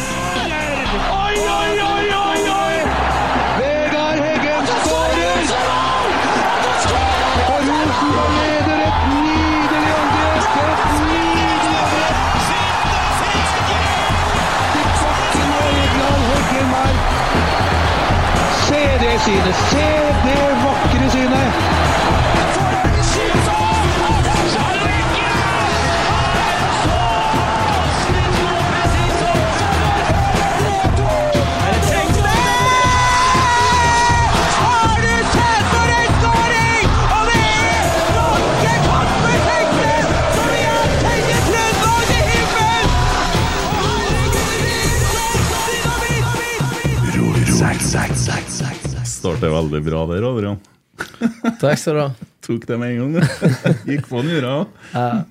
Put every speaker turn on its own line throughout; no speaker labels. Oi, oi, oi, oi, oi!
Vegard Heggen skårer! Og Rosenborg leder et nydelig angrep! Et nydelig angrep! Til bakken og Egeland Heggen her. Se det synet! Se det vakre synet!
Starter veldig bra der, Adrian.
Takk skal du ha.
Tok det med en gang. du. Gikk på den jorda.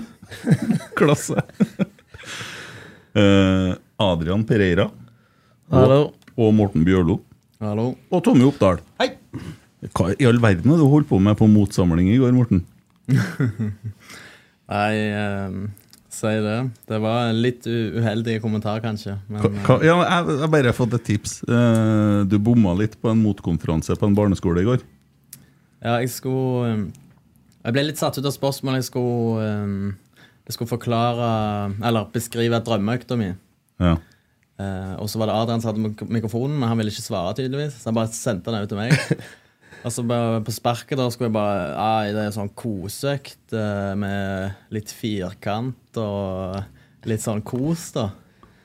Klasse. Eh, Adrian Pereira
Hallo.
og Morten Bjørlo
Hallo.
og Tommy Oppdal. Hei! Hva i all verden har du holdt på med på motsamling i går, Morten?
Nei, eh, si det. Det var en litt u- uheldig kommentar, kanskje. Men
Hva, hva, ja, jeg jeg har bare fått et tips. Eh, du bomma litt på en motkonferanse på en barneskole i går.
eh, ja, jeg skulle eh, Jeg ble litt satt ut av spørsmålet. Jeg skulle, eh, jeg skulle forklare Eller beskrive drømmeøkta mi.
Ja.
Eh, og så var det Adrian som hadde mik- mikrofonen, men han ville ikke svare, tydeligvis. Så han bare sendte den ut til meg. og så bare på sparket da skulle jeg bare Ai, det er sånn koseøkt eh, med litt firkant og litt sånn kos, da.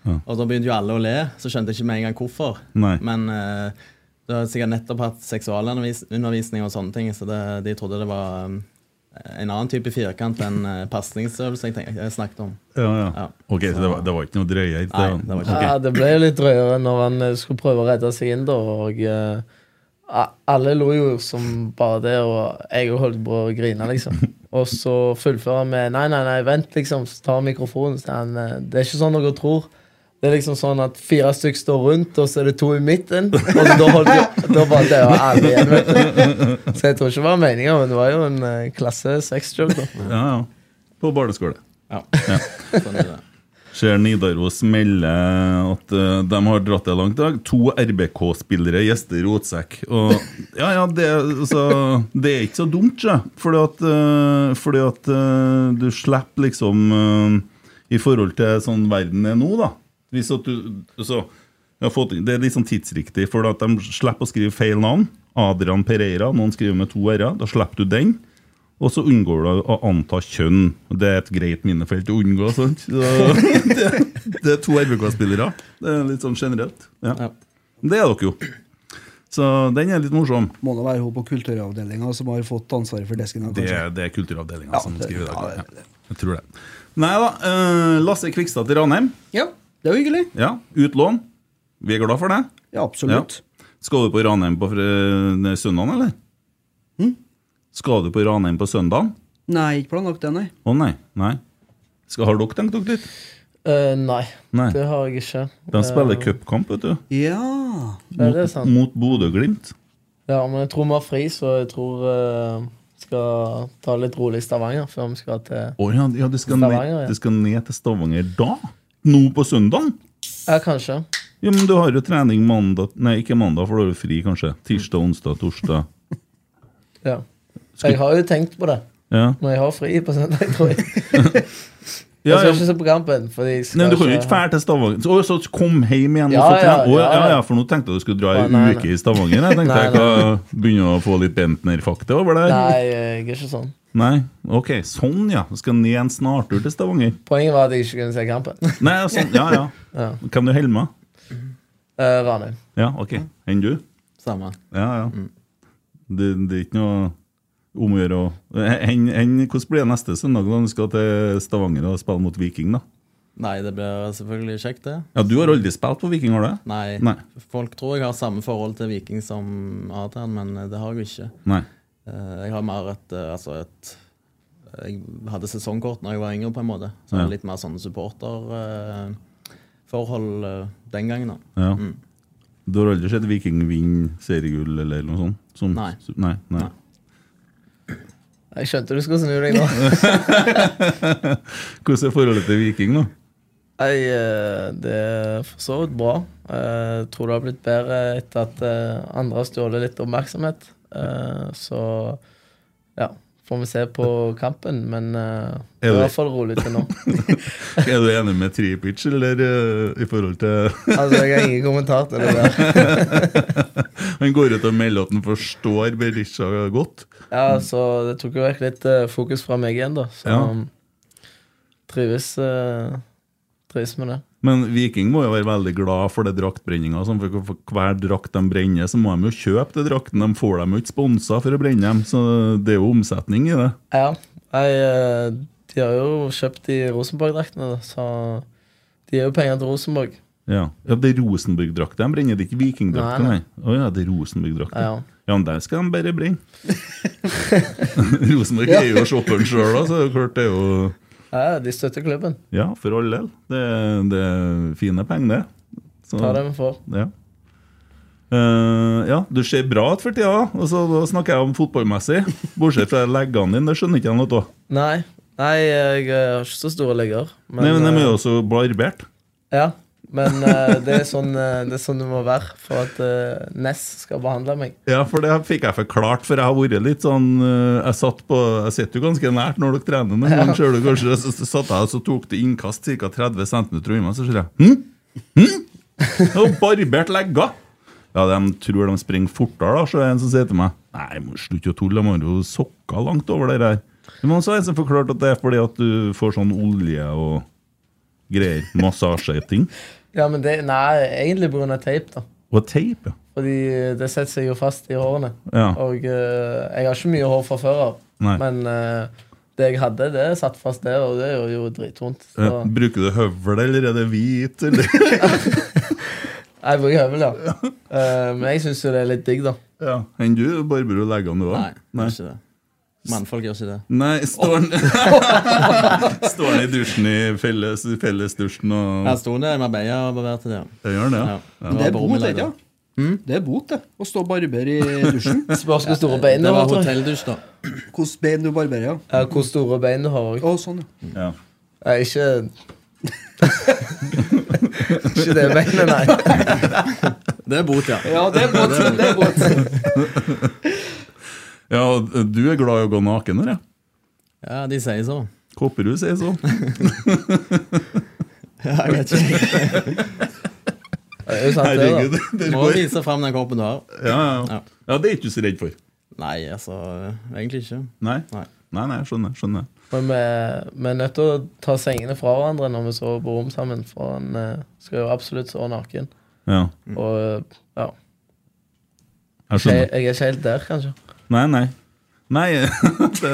Ja.
Og da begynte jo alle å le, så skjønte jeg ikke med en gang hvorfor.
Nei.
Men eh, du har sikkert nettopp hatt seksualundervisning og sånne ting, så det, de trodde det var um, en annen type firkant enn uh, pasningsøvelse jeg, tenk- jeg snakket om.
Ja, ja.
Ja.
Ok, så det var, det var ikke noe drøyere?
Nei, det var ikke-
Ok.
Ja, det ble jo litt drøyere når han eh, skulle prøve å redde seg inn, da. Og eh, a- alle lo jo som bare det, og jeg òg holdt på å grine, liksom. Og så fullfører han med 'nei, nei, nei, vent', liksom. Så tar han mikrofonen. Så han, eh, det er ikke sånn dere tror. Det er liksom sånn at fire stykk står rundt, og så er det to i midten. Og så da holdt jo, da bare dør alle igjen. vet du. Så jeg tror ikke det var meninga, men det var jo en eh, klasse sexjoke, da.
Ja, ja. På barneskole.
Ja. Sånn er det.
Ser Nidaros melde at eh, de har dratt det langt i dag. To RBK-spillere gjester Rotsekk. Og ja, ja, det, altså, det er ikke så dumt, sjø. Fordi at, eh, fordi at eh, du slipper liksom eh, I forhold til sånn verden er nå, da. Hvis at du altså, jeg har fått, Det er litt sånn tidsriktig, for at de slipper å skrive feil navn. Adrian Pereira, noen skriver med to r-er. Da slipper du den. Og så unngår du å anta kjønn. Det er et greit minnefelt å unngå. sant? Så, det, det er to RBK-spillere. Det er litt sånn generelt. Ja.
Ja.
Det er dere jo. Så den er litt morsom.
Må det være hun på kulturavdelinga som har fått ansvaret for desken? da,
Det,
kanskje?
det er kulturavdelinga
Ja,
som
det-
skriver
ja,
det.
det-
Ja, jeg tror det. Nei da. eh, Lasse Kvikstad til Ranheim.
Ja, det er jo hyggelig.
Ja, Utlån. Vi er glad for det.
Ja, absolutt.
Skal du på Ranheim på fre- søndagen, eller? Hm? Skal du på Ranheim på søndagen?
Nei, ikke planlagt det, nei.
Å nei. nei. Skal, har dere tenkt dere litt?
Eh, nei,
Nei.
det har jeg ikke.
De spiller cupkamp, vet du.
Ja.
Ja, det er
Mot,
sant.
mot Bodø-Glimt.
Ja, men jeg tror vi har fri, så jeg tror vi skal ta det litt rolig i Stavanger før vi skal til
Å ja, ja, du skal, ned,
Stavanger, ja.
du skal ned til Stavanger da? Nå på søndag?
Ja, kanskje.
Ja, men du har jo trening mandag Nei, ikke mandag, for da er du fri, kanskje. Tirsdag, onsdag, torsdag.
Ja. Jeg har jo tenkt på det
Ja.
når jeg har fri på søndag, tror jeg.
Ja,
Jeg
ja.
skal ikke se på kampen. Fordi jeg skal
Nei, men Du kan jo ikke dra til Stavanger Så, å, så kom hjem igjen og
Ja,
så trene?
ja,
Å, ja,
ja,
ja,
ja.
ja, for nå tenkte jeg du skulle dra
Å,
ei
nei, nei.
uke i Stavanger. Jeg tenkte
Nei,
jeg kan begynne å få litt Bentner-fakta over der.
Nei, jeg er ikke sånn.
Nei. Ok, sånn, ja. Du skal ned en snartur til Stavanger.
Poenget var at jeg ikke kunne se kampen.
Nei, sånn, ja, ja.
Ja.
Hvem du holder med?
Uh, Ranheim.
Ja, ok. Enn du?
Samme.
Ja, ja. Det, det er ikke noe om å gjøre å Enn- enn- Hvordan blir det neste søndag når du skal til Stavanger og spille mot Viking, da?
Nei, det blir selvfølgelig kjekt, det.
Ja, Du har aldri spilt for Viking, har du? det?
Nei,
Nei.
Folk tror jeg har samme forhold til Viking som Adrian, men eh, det har jeg jo ikke.
Nei.
Eh, Jeg har mer et, eh, altså et eh, Jeg hadde sesongkort når jeg var yngre, på en måte. Så jeg
Ja.
hadde litt mer sånne supporterforhold eh, den gangen. da.
Ja. Du har aldri sett Viking vinne seriegull eller noe sånt? Som,
Nei.
Nei, nei.
Nei.
Jeg skjønte du skulle snu deg nå.
Hvordan er forholdet til Viking nå?
Nei, eh, det er for så vidt bra. Eh, Jeg tror det har blitt bedre etter at eh, andre har stjålet litt oppmerksomhet. Eh, Så ja, får vi se på kampen, men eh, det
Er
er i
det-
hvert fall rolig til nå.
Er du enig med Tripic, eller eh, i forhold til
Altså, Jeg har ingen kommentar til det der.
Han går ut og melder at han forstår Berisha godt.
Ja, så det tok jo vekk litt eh, fokus fra meg igjen, da. Så
Ja.
um, trives, eh, trives med det.
Men Viking må jo være veldig glad for det draktbrenninga. sånn, For for hver drakt de brenner, så må de jo kjøpe de drakten. De får dem jo ikke sponsa for å brenne dem, så det er jo omsetning i det.
Ja, jeg, eh, de har jo kjøpt de Rosenborg-draktene, da, så de gir jo penger til Rosenborg.
Ja, ja Det er Rosenborg-drakt. De brenner det ikke Viking-drakt,
Nei,
nei.
nei.
Å ja, det er Rosenborg-drakt.
Ja, ja.
Ja, men der skal de bare brenne. Rosenborg er jo shopperen sjøl, så det er jo klart det er jo
Ja, de støtter klubben.
Ja, for all del. Det, det er fine penger, det. Så-
Ta det vi får.
Ja. Eh, ja, du ser bra ut for tida. Og så da snakker jeg om fotballmessig. Bortsett fra leggene dine, det skjønner ikke jeg noe av.
Nei, nei, jeg eh, har ikke så store legger.
Nei, men De er
eh,
jo også barbert.
ja, men eh, det, er sånn, eh, det er sånn det må være for at eh, Ness skal behandle meg.
Ja, for det fikk jeg forklart, for jeg har vært litt sånn eh, Jeg satt på, jeg sitter jo ganske nært når dere trener, men ja. ser du kanskje så så satt jeg og så tok det innkast ca. 30 cm unna, så ser jeg Hm? Hm? Det var barbert legger! Ja, de tror de springer fortere, da, så er det en som sier til meg Nei, må slutt å tulle, de har jo sokker langt over det der. Men så er det en som forklarte at det er fordi at du får sånn olje og greier. Massasjeting.
Ja, men det, nei, egentlig på grunn av teip, da.
Og teip, ja.
Fordi eh, det setter seg jo fast i hårene.
Ja.
Og eh, jeg har ikke mye hår fra før av.
Nei.
Men eh, det jeg hadde, det satt fast der, og det gjør jo dritvondt. Så
Eh, Bruker du høvel, eller er det hvit, eller?
jeg bruker høvel, ja. Eh, men jeg syns jo det er litt digg, da.
Ja, Enn du barberer og legger du
Nei,
òg?
Nei. ikke det. Mannfolk gjør ikke det.
Nei, står han Står han i dusjen i felles, fellesdusjen og
Her sto det en arbeider og beverte det.
Det gjør han det?
Ja.
Ja.
var
Det er
på
bot,
rommet
det,
i
ja.
dag.
Det er bot, det. Å stå og barbere i dusjen.
Spørs hvor store bein du
Det
har.
var
tror jeg.
hotelldusj, da.
Hvordan bein du barberer, ja.
Ja, hvor store bein du har òg.
Å, sånn, ja.
Ja.
Jeg er ikke Ikke det beinet, nei.
Det er bot, ja.
Ja, det er bot. Det er bot.
ja, og du er glad i å gå naken, eller?
Ja, De sier så.
Kopperud sier sånn? så.
Ja, jeg vet ikke.
Det er jo sant,
Herregud.
det, da.
Det
Må
går.
vise fram den kroppen du har.
Ja, ja.
Ja.
ja, det er ikke du så redd for?
Nei, altså egentlig ikke.
Nei?
Nei.
Nei, nei, skjønner. skjønner
Men vi, vi er nødt til å ta sengene fra hverandre når vi sover på rom sammen, for han eh, skal jo absolutt sove naken.
Ja,
Og eh, ja.
jeg
Jeg,
skjønner.
jeg er ikke helt der, kanskje.
Nei, nei. Nei, det,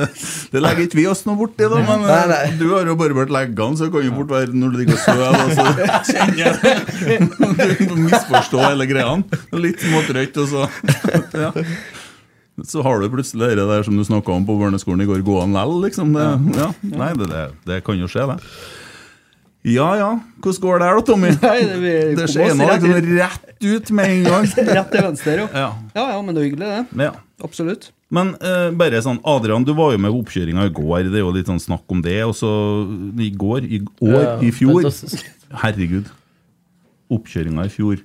det legger ikke vi oss noe borti, da. Men eh,
Nei, nei.
du har jo barbert leggene, så det kan jo fort være når du ligger og sover. og så kjenner jeg det. Du misforstår hele greia. Litt småtrøtt, og så ja. Så har du plutselig det der som du snakka om på barneskolen i går, gående lell, liksom. Det, ja. Nei, det, det, det kan jo skje, det. Ja ja, hvordan går det her da, Tommy?
Nei, det, vi
Det
kom
skjer
oss
nå
rett,
liksom rett ut med en gang.
rett til venstre, jo.
Ja,
Ja, ja, men det er hyggelig, det.
ja.
Absolutt.
Men eh, bare sånn, Adrian, du var jo med på oppkjøringa i går. Det er jo litt sånn snakk om det. Og så i går, i år,
Ja,
i fjor
men da-
Herregud. Oppkjøringa i fjor.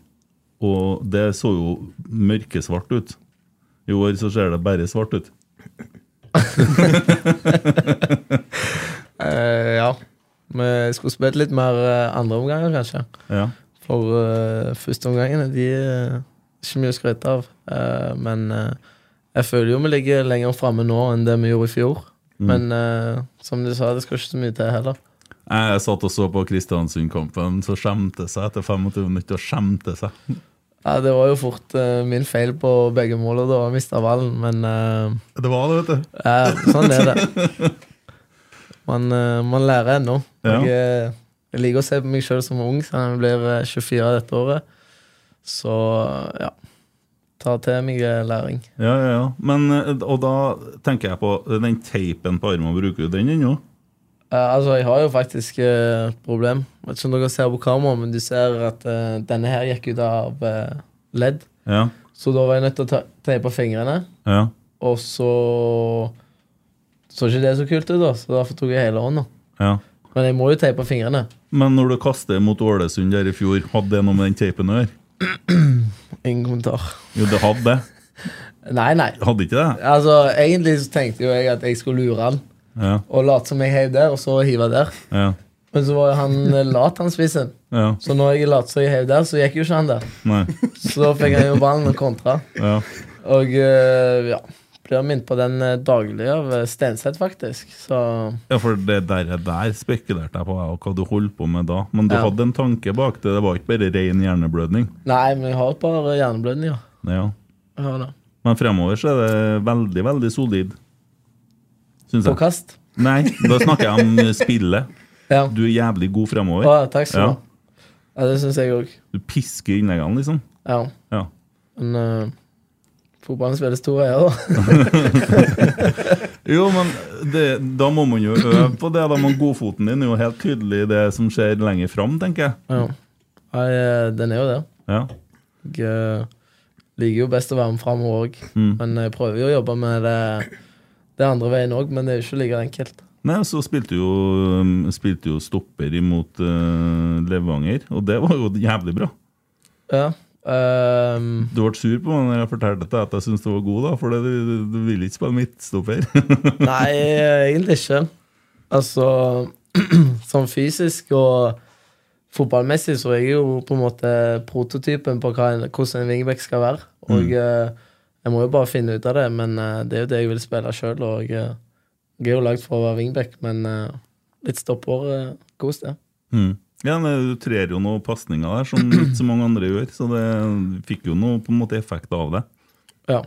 Og det så jo mørkesvart ut. I år så ser det bare svart ut.
Eh, ja. Vi skulle spilt litt mer eh, andre omganger, kanskje.
Ja.
For eh, første omgangene, de er ikke mye å skryte av. Eh, men eh, jeg føler jo vi ligger lenger framme nå enn det vi gjorde i fjor. Men eh, som du sa, det skal ikke så mye til heller.
Jeg satt og så på Kristiansund-kampen, så skjemte seg etter 25 minutter. og Skjemte seg.
Ja, det var jo fort eh, min feil på begge målene da, jeg mista ballen, men eh,
Det var det, vet du.
Ja, sånn er det. Man, eh, man lærer ennå.
Ja.
Jeg, eh, jeg liker å se på meg sjøl som ung, så jeg blir eh, 24 dette året. Så ja. Tar til meg eh, læring.
Ja, ja, ja. Men, eh, og da tenker jeg på den teipen på armen, bruker du den ennå?
Eh, altså, jeg har jo faktisk eh, et problem. Jeg vet ikke om dere ser på kamera, men du ser at eh, denne her gikk ut av eh, ledd.
Ja.
Så da var jeg nødt til å ta- teipe fingrene,
Ja.
og så Så ikke det så kult ut, da, så derfor tok jeg hele hånda.
Ja.
Men jeg må jo teipe fingrene.
Men når du kaster mot Ålesund der i fjor, hadde det noe med den teipen å gjøre?
Ingen kommentar.
Jo, det hadde det.
Nei, nei.
Hadde ikke det?
Altså, Egentlig så tenkte jo jeg at jeg skulle lure han
Ja,
og late som jeg heiv der, og så hive der.
ja,
Men så var jo han eh, lat, han spissen.
ja.
Så når jeg lot som jeg heiv der, så gikk jo ikke han der.
Nei.
Så da fikk han jo ballen og kontra.
Ja.
Og eh, ja, blir minnet på den eh, daglig av eh, Stenseth, faktisk. Så
Ja, for det der, der spekulerte jeg på jeg, og hva du holdt på med da. Men du
Ja.
hadde en tanke bak det. Det var ikke bare ren hjerneblødning.
Nei, men jeg har et par eh, hjerneblødninger.
Ja.
Jeg har det.
Men fremover så er det veldig, veldig solid. Syns
På
jeg.
kast.
Nei, da snakker jeg om spillet.
Ja.
Du er jævlig god fremover.
Ah, takk skal du
Ja.
ha. Ja, det syns jeg òg.
Du pisker innleggene, liksom.
Ja.
Ja.
Men eh, fotballen spilles to veier, da.
Jo, men det, da må man jo øve på det. da, Men godfoten din er jo helt tydelig det som skjer lenger fram, tenker jeg.
Ja. Nei, eh, den er jo det.
Ja.
Jeg eh, liker jo best å være med framover òg.
Mm.
Men jeg prøver jo å jobbe med det, det andre veien òg, men det er jo ikke like enkelt.
Nei, så spilte jo, um, spilte jo stopper imot eh, Levanger, og det var jo jævlig bra.
Ja. ehm,
Du ble sur på meg når jeg fortalte deg at jeg syntes du var god, da, for det, du, du vil ikke spille midtstopper.
nei, eh, egentlig ikke. Altså sånn fysisk og fotballmessig så er jeg jo på en måte prototypen på hva en, hvordan en wingback skal være. Og eh, jeg må jo bare finne ut av det, men eh, det er jo det jeg vil spille sjøl. Og eh, jeg er jo lagd for å være wingback, men eh, litt stopper uh, kos, det.
Mm. Ja, men Du trer jo noen pasninger der som ikke så mange andre gjør, så det fikk jo noe på en måte effekt av det.
Ja,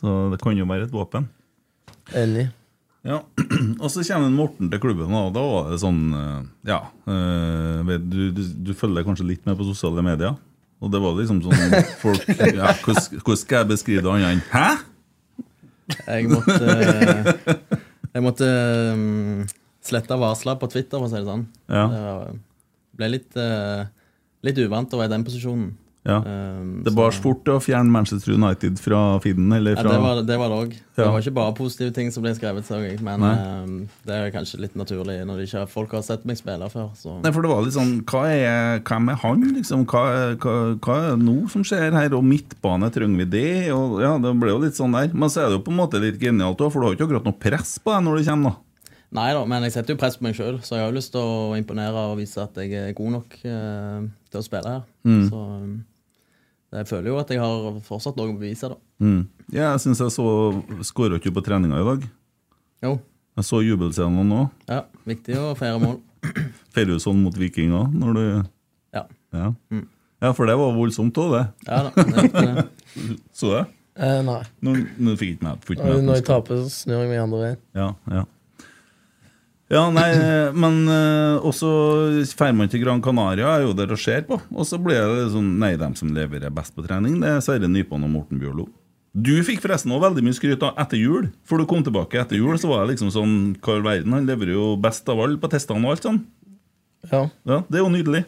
Så det kan jo være et våpen.
enig.
Ja, Og så kommer Morten til klubben, og da var det sånn eh, Ja, eh, vet du, du, du følger kanskje litt med på sosiale medier? Og det var liksom sånn folk, ja, Hvordan hvordan skal jeg beskrive det annet enn Hæ?!
Jeg måtte, eh, jeg måtte um, slette varsler på Twitter, for å si det sånn.
Ja,
Det var- ble litt, eh, litt uvant å være i den posisjonen.
ja.
Um,
Det
så-
bar fort til å fjerne Manchester United fra feeden. Eller
ja,
fra,
det, var, det var det òg. Det
Ja.
var ikke bare positive ting som ble skrevet, så jeg, men
Nei.
um, det er kanskje litt naturlig når ikke, folk har sett meg spille før. Så.
Nei, for det var litt sånn Hva er, hvem er han, liksom? Hva, hva, hva er det nå som skjer her? Og midtbane, trenger vi det? Og ja, Det ble jo litt sånn der. Men så er det jo på en måte litt genialt òg, for du har jo ikke akkurat noe press på deg når du kommer, da.
Nei da, men jeg setter jo press på meg sjøl, så jeg har jo lyst til å imponere og vise at jeg er god nok eh, til å spille her.
Mm.
Så um, jeg føler jo at jeg har fortsatt noe å bevise, da.
Mm. Ja, jeg syns jeg så Skåra ikke på treninga i dag.
Jo,
Jeg så jubelscenen nå.
ja, viktig å feire mål.
Feirer jo sånn mot Vikinga når du
Ja,
Ja, ja for det var voldsomt òg, det.
ja da. Det er viktig, det.
Så jeg.
Eh, nei.
Nå, nå fikk jeg ikke med- fikk ikke
Når,
med.
når jeg taper, så snur jeg meg andre veien.
Ja, ja. Ja, nei, men eh, også drar man til Gran Canaria, er jo der og ser på. Og så blir det sånn Nei, dem som leverer best på trening, det er Sverre Nypan og Morten Bjørlo. Du fikk forresten også veldig mye skryt av etter jul. For du kom tilbake etter jul, så var det liksom sånn Hva i all verden? Han leverer jo best av alle på testene og alt sånn.
Ja.
Ja, Det er jo nydelig.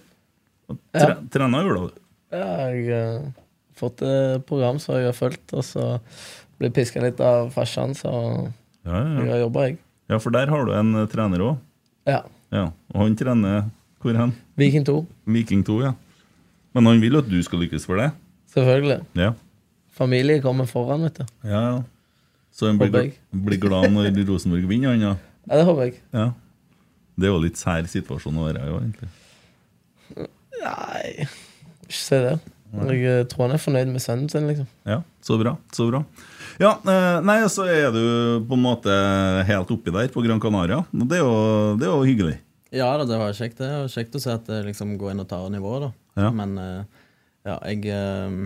Og Tre, Trena jula, du.
ja, jeg har fått et program som jeg har fulgt, og så blir piska litt av farsan, så
Ja, ja,
jeg
ja.
har jobba, jeg.
ja, for der har du en eh, trener òg.
Ja.
Ja. Og han trener hvor hen?
Viking 2,
Viking 2, ja. Men han vil jo at du skal lykkes for det.
selvfølgelig.
Ja.
Familie kommer foran, vet du.
Ja, ja. Så han
Håper
blir,
jeg.
blir glad når Rosenborg vinner, han, ja.
Ja, det håper jeg.
ja. Det er jo litt sær situasjon å være i, også, egentlig.
Nei, ikke si det. Jeg eh, tror han er fornøyd med sønnen sin, liksom.
Ja, så bra. Så bra. Ja, eh, nei, så er du på en måte helt oppi der på Gran Canaria. Og Det er jo, det er jo hyggelig.
Ja da, det var kjekt det. Og kjekt å se at det liksom går inn og tar nivået, da.
Ja.
Men eh, ja, jeg eh,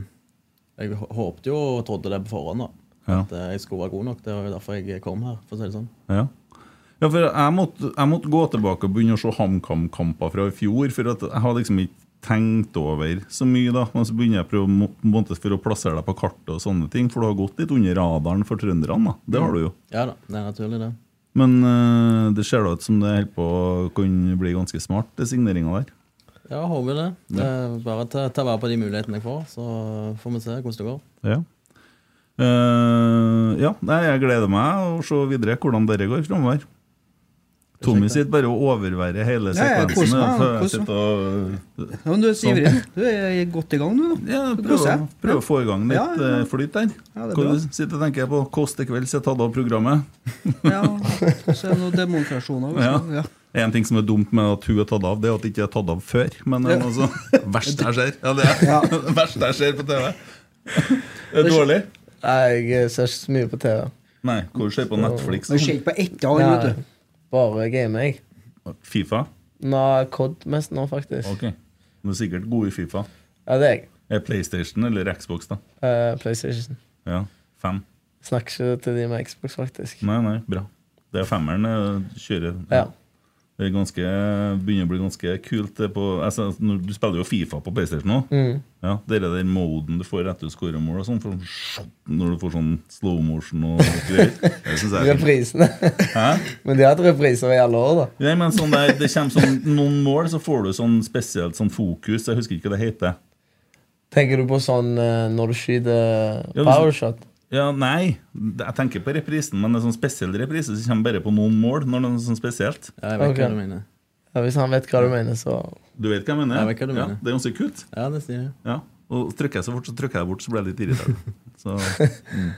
Jeg hå- håpte jo og trodde det på forhånd, da.
Ja.
At eh, jeg skulle være god nok. Det var jo derfor jeg kom her, for å si det sånn.
Ja. Ja, for jeg måtte, jeg måtte gå tilbake og begynne å se HamKam-kamper fra i fjor. For at jeg har liksom ikke tenkt over så mye, da. Men så begynner jeg prøve, må- på en måte for å plassere deg på kartet og sånne ting. For du har gått litt under radaren for trønderne, da. Det har du jo.
Ja da, det er naturlig, det.
Men eh, det ser da ut som det holder på å kunne bli ganske smart, det signeringa der.
Ja, jeg håper det. det er bare ta, ta vare på de mulighetene jeg får, så får vi se hvordan det går.
Ja. Eh, ja, nei, jeg gleder meg å se videre hvordan dette går framover. Tommy sitter bare og overværer hele
Ja, jeg koser
sekvensen.
meg,
ja, for
koser
jeg sitter og
Ja, men du er så
Sånn.
ivrig. Du er godt i gang, du. nå.
ja,
koser
prøver,
jeg.
prøver å få i gang litt
Ja, ja.
eh, flyt der.
Ja, det er
Hva
bra.
du sitter og tenker på Kåss til kvelds, jeg tatt av programmet.
Ja, Så er det noen demonstrasjoner. liksom.
Ja.
Ja.
En ting som er dumt med at hun er tatt av, det er at hun ikke er tatt av før. Men det er noe så- verst jeg ser. Ja, det er
Ja.
det verste jeg ser på TV. Er det dårlig?
Nei, jeg eh, ser ikke så mye på TV.
Nei, hvor du ser på Netflix?
Men ser ikke på ett av
Nei,
alle, vet du.
bare game, jeg.
Fifa?
Nå Cod mest nå, faktisk.
Ok. Du er sikkert god i Fifa.
Ja, det er jeg.
Er PlayStation eller Xbox, da?
Eh, PlayStation.
Ja, fem.
Snakker ikke til de med Xbox, faktisk.
Nei, nei, bra. Det er femmeren jeg kjører.
Ja.
Det er ganske, begynner å bli ganske kult. Det på, jeg sa- altså, når du spiller jo Fifa på PlayStation nå.
Mm.
Ja, det er den moden du får etter du scorer mål, og sånn, for, sånn, når du får sånn slow motion og greier. Det synes jeg er fint.
Reprisene.
Hæ?
Men de har hatt repriser i alle år, da.
Nei, men sånn der, det kommer sånn noen mål, så får du sånn spesielt sånn fokus. Jeg husker ikke hva det heter.
Tenker du på sånn eh, når du skyter
Ja, hvis-
powershot?
Ja, nei, jeg tenker på reprisen, men det er sånn spesiell reprise som kommer bare på noen mål. når det er noe sånn spesielt.
Ja, jeg vet
Ok.
hva du mener.
Ja, hvis han vet hva du mener, så
Du vet hva jeg mener?
Jeg vet hva du
ja,
mener.
Det er ganske kult.
Ja, det sier jeg.
Ja, og trykker jeg så fort, så trykker jeg bort, så blir jeg litt irritert. Så, mm.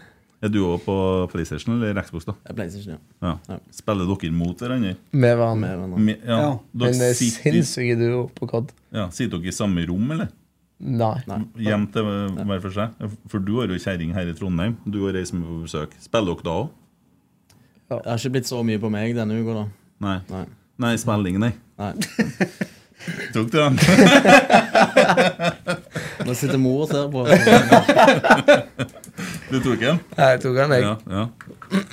Er du òg på PlayStation eller Xbox? da?
Jeg pleier ikke å
Ja.
Ja.
Spiller dere mot hverandre?
med hverandre.
med hverandre.
Me- Ja,
Ja.
Dere
Men det er
sitter, i-
sinnssyke duo på Cod.
ja, sitter dere i samme rom, eller?
Nei.
Nei.
Hjem til hver for seg? For du har jo kjerring her i Trondheim. Du har reist med på besøk. Spiller dere da òg?
Det har ikke blitt så mye på meg denne uka, da.
Nei.
Nei.
Nei, spilling, nei.
Nei.
Tok du den?
Nå sitter mor og ser på.
Du tok den?
Jeg tok han, jeg.
Ja, ja.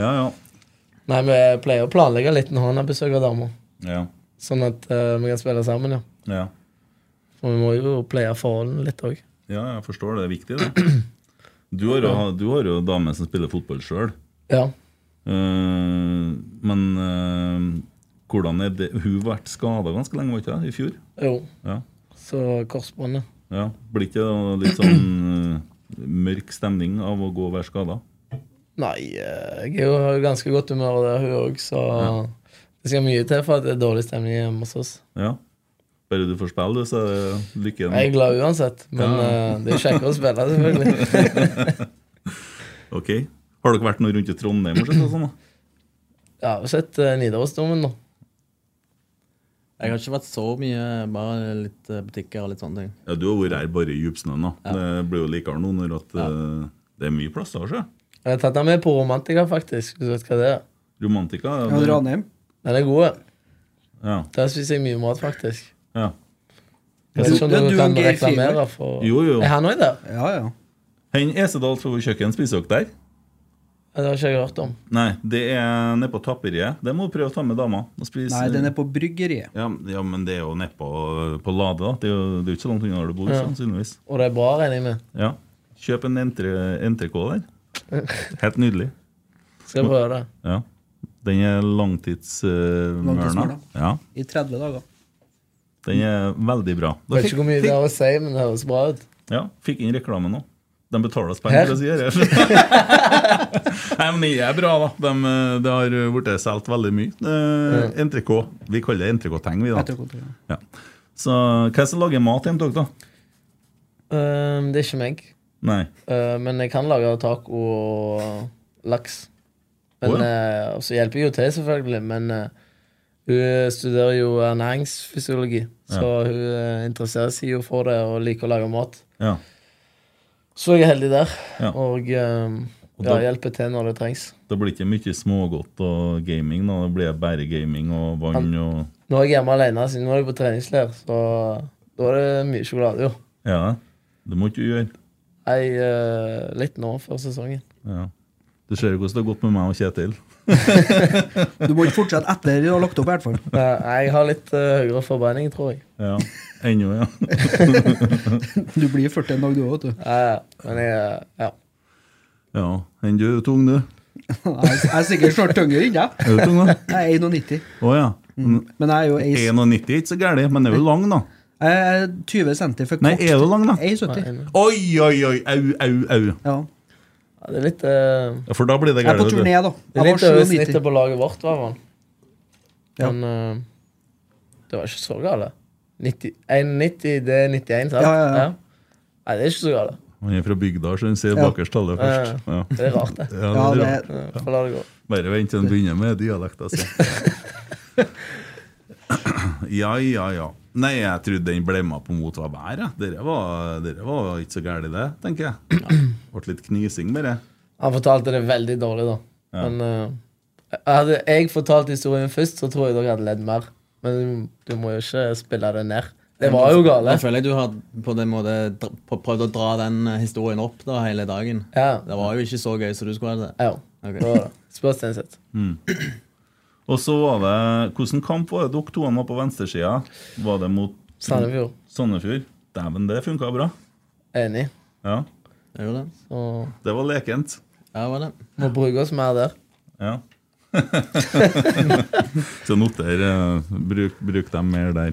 Ja, ja.
Nei, vi pleier å planlegge litt når han har besøk av dama,
ja.
sånn at eh, vi kan spille sammen, ja.
ja.
For vi må jo pleie forholdene litt òg.
Ja, jeg forstår det. Det er viktig, det. Du har jo, du har jo dame som spiller fotball sjøl.
Ja.
men eh, hvordan er det Hun har vært skada ganske lenge, var ikke det? I fjor?
Jo.
Ja.
Så korsbåndet.
ja. Blir ikke det litt sånn eh, mørk stemning av å gå og være skada?
Nei, eh, jeg er jo har jo ganske godt humør, og det er hun òg, så det skal mye til for at det er dårlig stemning hjemme hos oss.
Ja. Bare du får spille, du, så er det lykken
Jeg er glad uansett, men
Ja.
eh, det er kjekkere å spille, selvfølgelig.
Ok. Har dere vært noe rundt i Trondheim? og sett og sånn, da?
Jeg har jo sett eh, Nidarosdomen nå.
Jeg har ikke vært så mye, bare litt eh, butikker og litt sånne ting.
Ja, du har vært her bare i djupsnøen. da. Det blir jo likere nå når at, eh, det er mye plasser. Ikke?
Jeg har tatt den med på Romantika, faktisk. hvis Du vet hva det er.
Romantika.
Ja, Ranheim.
Den er god.
ja.
Der spiser jeg mye mat, faktisk.
Ja.
Jeg vet ikke om
Ja, du
du
og
kan
Geir Fiver.
reklamere for
Jo, jo.
Er han òg der?
Ja, ja.
Hen Esedal Fjord kjøkken, spiser dere der?
Ja, Det har ikke jeg hørt om.
Nei, det er nede på Tapperiet. Det må du prøve å ta med dama. og spise.
Nei, den er på bryggeriet.
ja, ja, men det er jo nede på, på Lade, da. Det er jo det er jo ikke så langt unna der du bor,
Ja.
sannsynligvis.
Og det er bra, regner jeg med.
Ja. Kjøp en entre- NTK der. Helt nydelig.
Skal jeg prøve det.
Ja. Den er langtidsmørna.
Langtidsmørna.
ja.
I 30 dager.
Den er veldig bra. Da
Vet
fikk-
ikke hvor mye det har å si, men det høres bra ut.
Ja, fikk inn reklame nå. De betaler oss
Her?
penger, for å si det her. Nei, men det er bra, da. De, eh, det har blitt solgt veldig mye. Eh, NTK. Vi kaller det NTK-teng, vi, da.
Etterkontroll.
Ja. Så hva er det som lager mat hjemme hos dere, da?
Ehm, det er ikke meg.
Nei.
Eh, men jeg kan lage taco og laks. Men,
Å,
eh, og så hjelper jeg jo til, selvfølgelig. Men eh, hun studerer jo ernæringsfysiologi, så hun eh, interesserer seg jo for det og liker å lage mat.
Ja.
Så jeg er heldig der,
Ja.
og, eh,
Og
ja,
da-
hjelper til når det trengs.
Det blir ikke mye smågodt og gaming, da. Det blir bare gaming og vann og
Nå er jeg hjemme alene, siden nå er jeg på treningsleir, så da er det mye sjokolade, jo.
Ja, det må ikke du gjøre.
Nei, eh, litt nå før sesongen.
Ja. Du ser jo hvordan det har gått med meg og Kjetil.
Du må ikke fortsette etter du har lagt opp, i hvert fall.
Eh, Nei, jeg har litt eh, høyere forbrenning, tror jeg.
Ja. Ennå, ja.
Du blir 40 en dag, du òg, vet du.
Eh, men jeg, eh, ja.
ja. Enn du er tung, du.
Jeg jeg er sikkert snart tyngre enn deg.
Er du tung, da?
Jeg er 91.
Å ja.
Men jeg er jo ei-
91 er ikke så gærent, men det er jo lang, da.
jeg er 20 cm for kort.
Nei, er du lang, da?
Jeg er 70.
Oi, oi, oi, au, au, au.
Ja.
Ja, det er litt eh,
Ja, for da blir det
Jeg er på
gærent. vet
turné,
du.
da.
Det er
Jeg
litt eh,
var
over
97.
snittet på laget vårt, var det.
Ja.
Men eh, det var ikke så gale. 90, 91, det er 91, sant?
Ja, ja, ja.
Nei, det er ikke så gale.
Han er fra bygda, så han sier
Ja.
bakerst tallet først. Ja.
Det er rart, det.
Ja,
Ja,
det er rart.
det,
Ja, Får la det gå.
Bare vent til han begynner med dialekta si. Ja, ja, ja. Nei, jeg trodde den blemma på mot var vær. jeg. Dere var, dere var ikke så gærent, det, tenker jeg. Ble litt knising, bare.
Han fortalte det veldig dårlig, da.
Ja.
Men eh, hadde jeg fortalt historien først, så tror jeg dere hadde ledd mer. Men du, du må jo ikke spille det ned. Det var jo eh? gale.
Da føler jeg du har på den måte dr- på- prøvd å dra den eh, historien opp da, hele dagen.
Ja.
Det var jo ikke så gøy som du skulle ha det.
ja.
Ok.
Det var det. Spør Stenseth.
Og så var det Hvilken kamp var det dere to var på venstresida? Var det mot
Sandefjord.
Sandefjord? Dæven, det funka bra.
Enig.
Ja,
Jeg gjorde det.
Så
det var lekent.
Ja, var det.
må bruke oss mer der.
Ja. så noter eh, bruk, bruk dem mer der.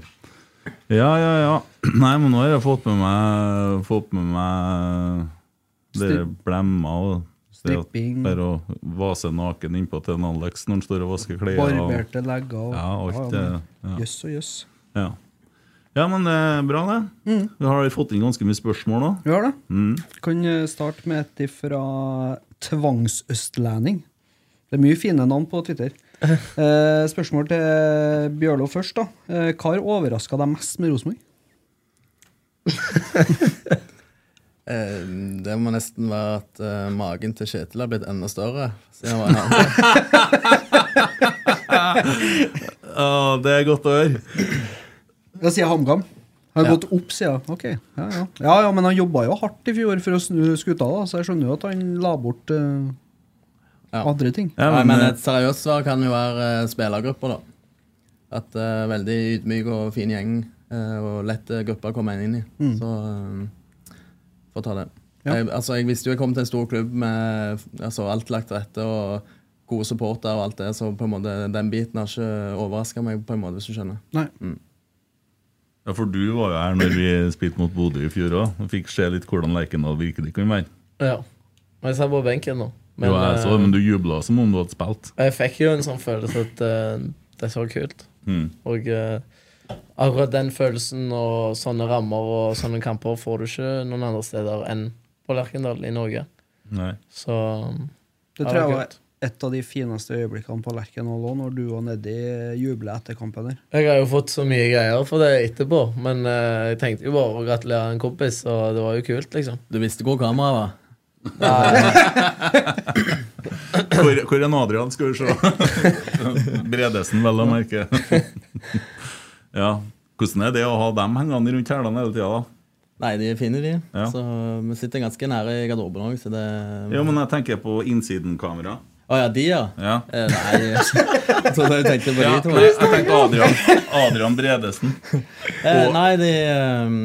Ja, ja, ja. Nei, men nå har jeg fått med meg Fått med meg dere blemma og det at-
Stripping.
Bare å vase naken innpå til en Alex når han står og vasker klær. og-
Barberte legger og
Ja, alt eh,
Ja,
det.
men-
Ja.
Jøss og jøss.
Ja. ja, men det er bra, det.
Mm.
Vi har fått inn ganske mye spørsmål nå.
Vi har det.
Mm.
Kan eh, starte med et fra Tvangsøstlending. Det er mye fine navn på Twitter. Eh, spørsmål til Bjørlo først. da. Eh, hva har overraska deg mest med Rosenborg?
Eh, Det må nesten være at eh, magen til Kjetil har blitt enda større. Siden han var her.
Ja, det er godt å høre.
Da sier jeg HamKam. Har
Ja.
gått opp, sier jeg. Ok, ja, ja. ja, ja, men han jobba jo hardt i fjor for å snu skuta, da, så jeg skjønner jo at han la bort eh,
Ja.
andre ting.
Ja,
Nei,
men,
men
eh,
et seriøst svar kan jo være eh, spillergrupper, da. At eh, veldig ydmyk og fin gjeng eh, og lett eh, gruppe å komme inn i.
Mm.
Så eh, får ta det.
Ja.
Jeg, altså, jeg visste jo jeg kom til en stor klubb med altså, alt lagt til rette og gode supporter og alt det, så på en måte, den biten har ikke overraska meg, på en måte, hvis du skjønner.
Nei.
Ja, for du var jo her når vi spilte mot Bodø i fjor òg. Fikk se litt hvordan Lerkendal virkelig kan være.
Ja. Men jeg satt på benken nå.
Men, jo, jeg så, det,
eh,
men du jubla som om du hadde spilt.
Jeg fikk jo en sånn følelse at eh, det så kult.
Mm.
Og eh, akkurat den følelsen og sånne rammer og sånne kamper får du ikke noen andre steder enn på Lerkendal i Norge.
Nei.
Så Ja,
Det tror
det er
jeg var
kult.
et av de fineste øyeblikkene på Lerkendal òg, når du var nedi jublet etter kampen der.
jeg har jo fått så mye greier for det etterpå, men eh, jeg tenkte jo bare å gratulere en kompis, og det var jo kult, liksom.
Du visste hvor kameraet var?
Hvor, hvor er Adrian, skal vi se? Bredesen, vel å merke. ja. Hvordan er det å ha dem hengende rundt hælene hele tida, da?
Nei, de er fine, de.
Ja.
Så vi sitter ganske nære i garderoben òg, så det
Jo, men jeg tenker på innsidenkamera.
Å ja, de, ja.
Ja.
Eh, nei Jeg trodde du tenkte på de
Ja,
to.
nei, jeg tenkte Adrian, Adrian Bredesen.
Eh,
Og-
nei, de ehm,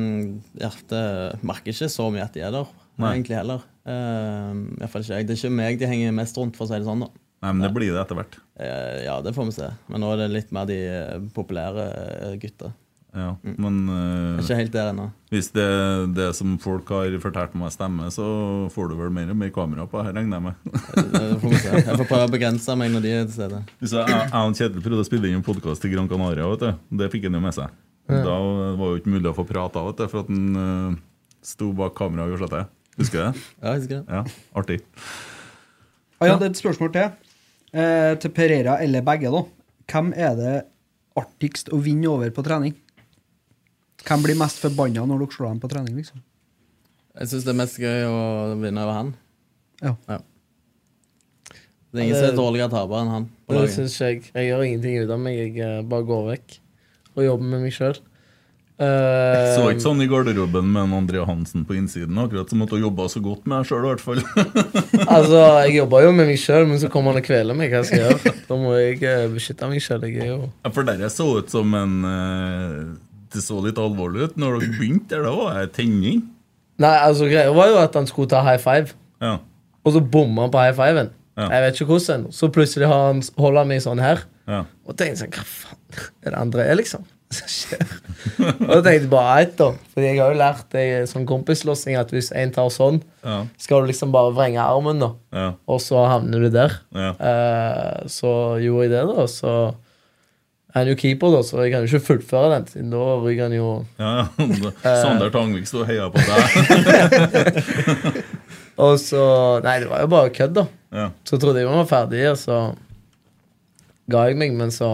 ja, det merker ikke så mye at de er der,
Nei.
egentlig heller. Ehm, i hvert fall ikke jeg. Det er ikke meg de henger mest rundt, for å si det sånn. da.
Nei, men det blir det etter hvert.
Eh, ja, det får vi se. Men nå er det litt mer de eh, populære eh, gutta.
Ja, men eh,
Ikke helt der ennå.
Hvis det, det som folk har fortalt meg stemmer, så får du vel mer og mer kamera på her, regner jeg med.
Eh, Det får vi se. Jeg får prøve å begrense meg når de er til stede.
Så jeg, jeg og Kjetil prøvde å spille inn en podkast til Gran Canaria, vet du. Det fikk han jo med seg. Da var jo ikke mulig å få prata, vet du, for at han eh, sto bak kamera og gjorde seg til. Husker du det?
Ja, jeg husker det.
Ja, artig.
Ah, jeg hadde et spørsmål til. Eh, til Pereira eller begge, da. Hvem er det artigst å vinne over på trening? Hvem blir mest forbanna når dere slår dem på trening, liksom?
Jeg syns det er mest gøy å vinne over han.
Ja.
Det er ingen som er dårligere taper enn han. på
Det
laget.
syns jeg. Jeg gjør ingenting ut av meg. Jeg eh, bare går vekk og jobber med meg Eh, sjøl.
Så ikke sånn i garderoben med en André Hansen på innsiden, akkurat som at hun jobba så godt med deg sjøl, i hvert fall. sånn.
Altså, jeg jobber jo med meg sjøl, men så kommer han og kveler meg. Hva skal jeg gjøre? Da må jeg eh, beskytte meg sjøl. Jeg er jo
For dere så ut som en eh, Det så litt alvorlig ut når dere begynte der, da var jeg tenning.
Nei, altså, greia var jo at han skulle ta high five,
Ja.
og så bomma han på high fiven.
Ja.
Jeg vet ikke hvordan. Så plutselig har han, holder han meg sånn her.
ja.
Og tenker sånn Hva faen er det André, liksom? som skjer. Og da tenkte jeg bare ett, da. Fordi jeg har jo lært det i sånn kompislåssing at hvis en tar sånn,
Ja,
skal du liksom bare vrenge armen, da.
ja,
Og så havner du der.
ja.
Eh, så gjorde jeg det, da. Så jeg er jo keeper, da, så jeg kan jo ikke fullføre den. Siden da ryker han jo
Ja, ja. Sander Tangvik sto og heia på deg.
Og så Nei, det var jo bare kødd, da.
Ja.
Så trodde jeg vi var ferdige, og så ga jeg meg, men så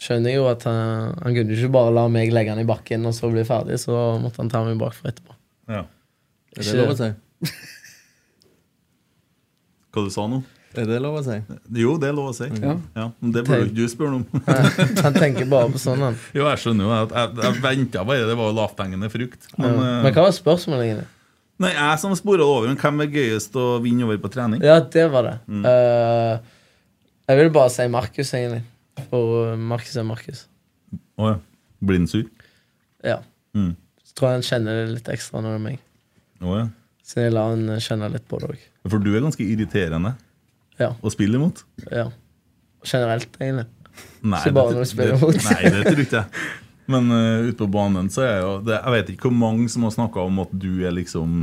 skjønner jeg jo at han, han kunne ikke bare la meg legge han i bakken og så bli ferdig, så da måtte han ta meg bakfra etterpå.
Ja.
Er det lov å si?
Hva du sa nå?
Er det lov å si?
Jo, det er lov å si. Ja. men det burde jo ikke du spørre om.
Han tenker bare på sånn, han.
Jo, jeg skjønner jo at jeg, jeg venta bare, det var jo lavthengende frukt. Men, eh,
Men hva var spørsmålet egentlig?
Nei, jeg som spora det over, men hvem er gøyest å vinne over på trening?
Ja, det var det.
Mm.
Eh, jeg vil bare si Markus, egentlig. For eh, Markus er Markus.
Å ja. Blir han sur?
Ja.
Mm.
Så tror jeg han kjenner det litt ekstra nå enn meg.
Å ja.
Så jeg lar han eh, kjenne litt på det òg.
For du er ganske irriterende
Ja,
å spille imot.
ja. Generelt, egentlig.
Nei,
Så bare
det-
når du spiller
det-
imot.
Nei, det tror jeg ikke. Men eh, ute på banen så er jeg jo det, Jeg vet ikke hvor mange som har snakka om at du er liksom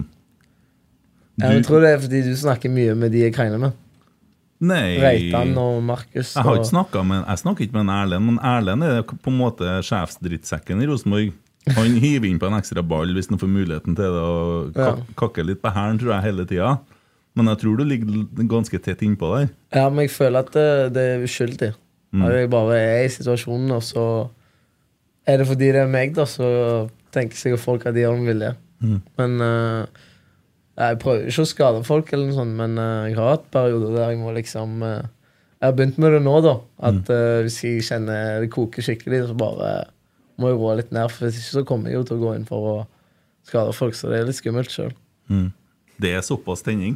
Ja, men Jeg tror det er fordi du snakker mye med de jeg krangler med.
Nei
Reitan og Markus.
Jeg har ikke
og-
snakket med, jeg snakker ikke med en Erlend, men Erlend er på en måte sjefsdrittsekken i Rosenborg. Han hiver inn på en ekstra ball hvis han får muligheten til det, og ka-
Ja.
kakker litt på hælen, tror jeg, hele tida. Men jeg tror du ligger l- ganske tett innpå der.
Ja, men jeg føler at eh, det, det er uskyldig.
Mm.
At jeg bare er i situasjonen, og så er det fordi det er meg, da, så tenker sikkert folk at de gjør med vilje.
Mm.
Men eh, jeg prøver ikke å skade folk, eller noe sånt, men eh, jeg har hatt perioder der jeg må liksom eh, Jeg har begynt med det nå, da.
Mm.
At eh, hvis jeg kjenner det koker skikkelig, så bare må jeg roe litt ned. For hvis ikke så kommer jeg jo til å gå inn for å skade folk, så det er litt skummelt sjøl.
Det er såpass tenning.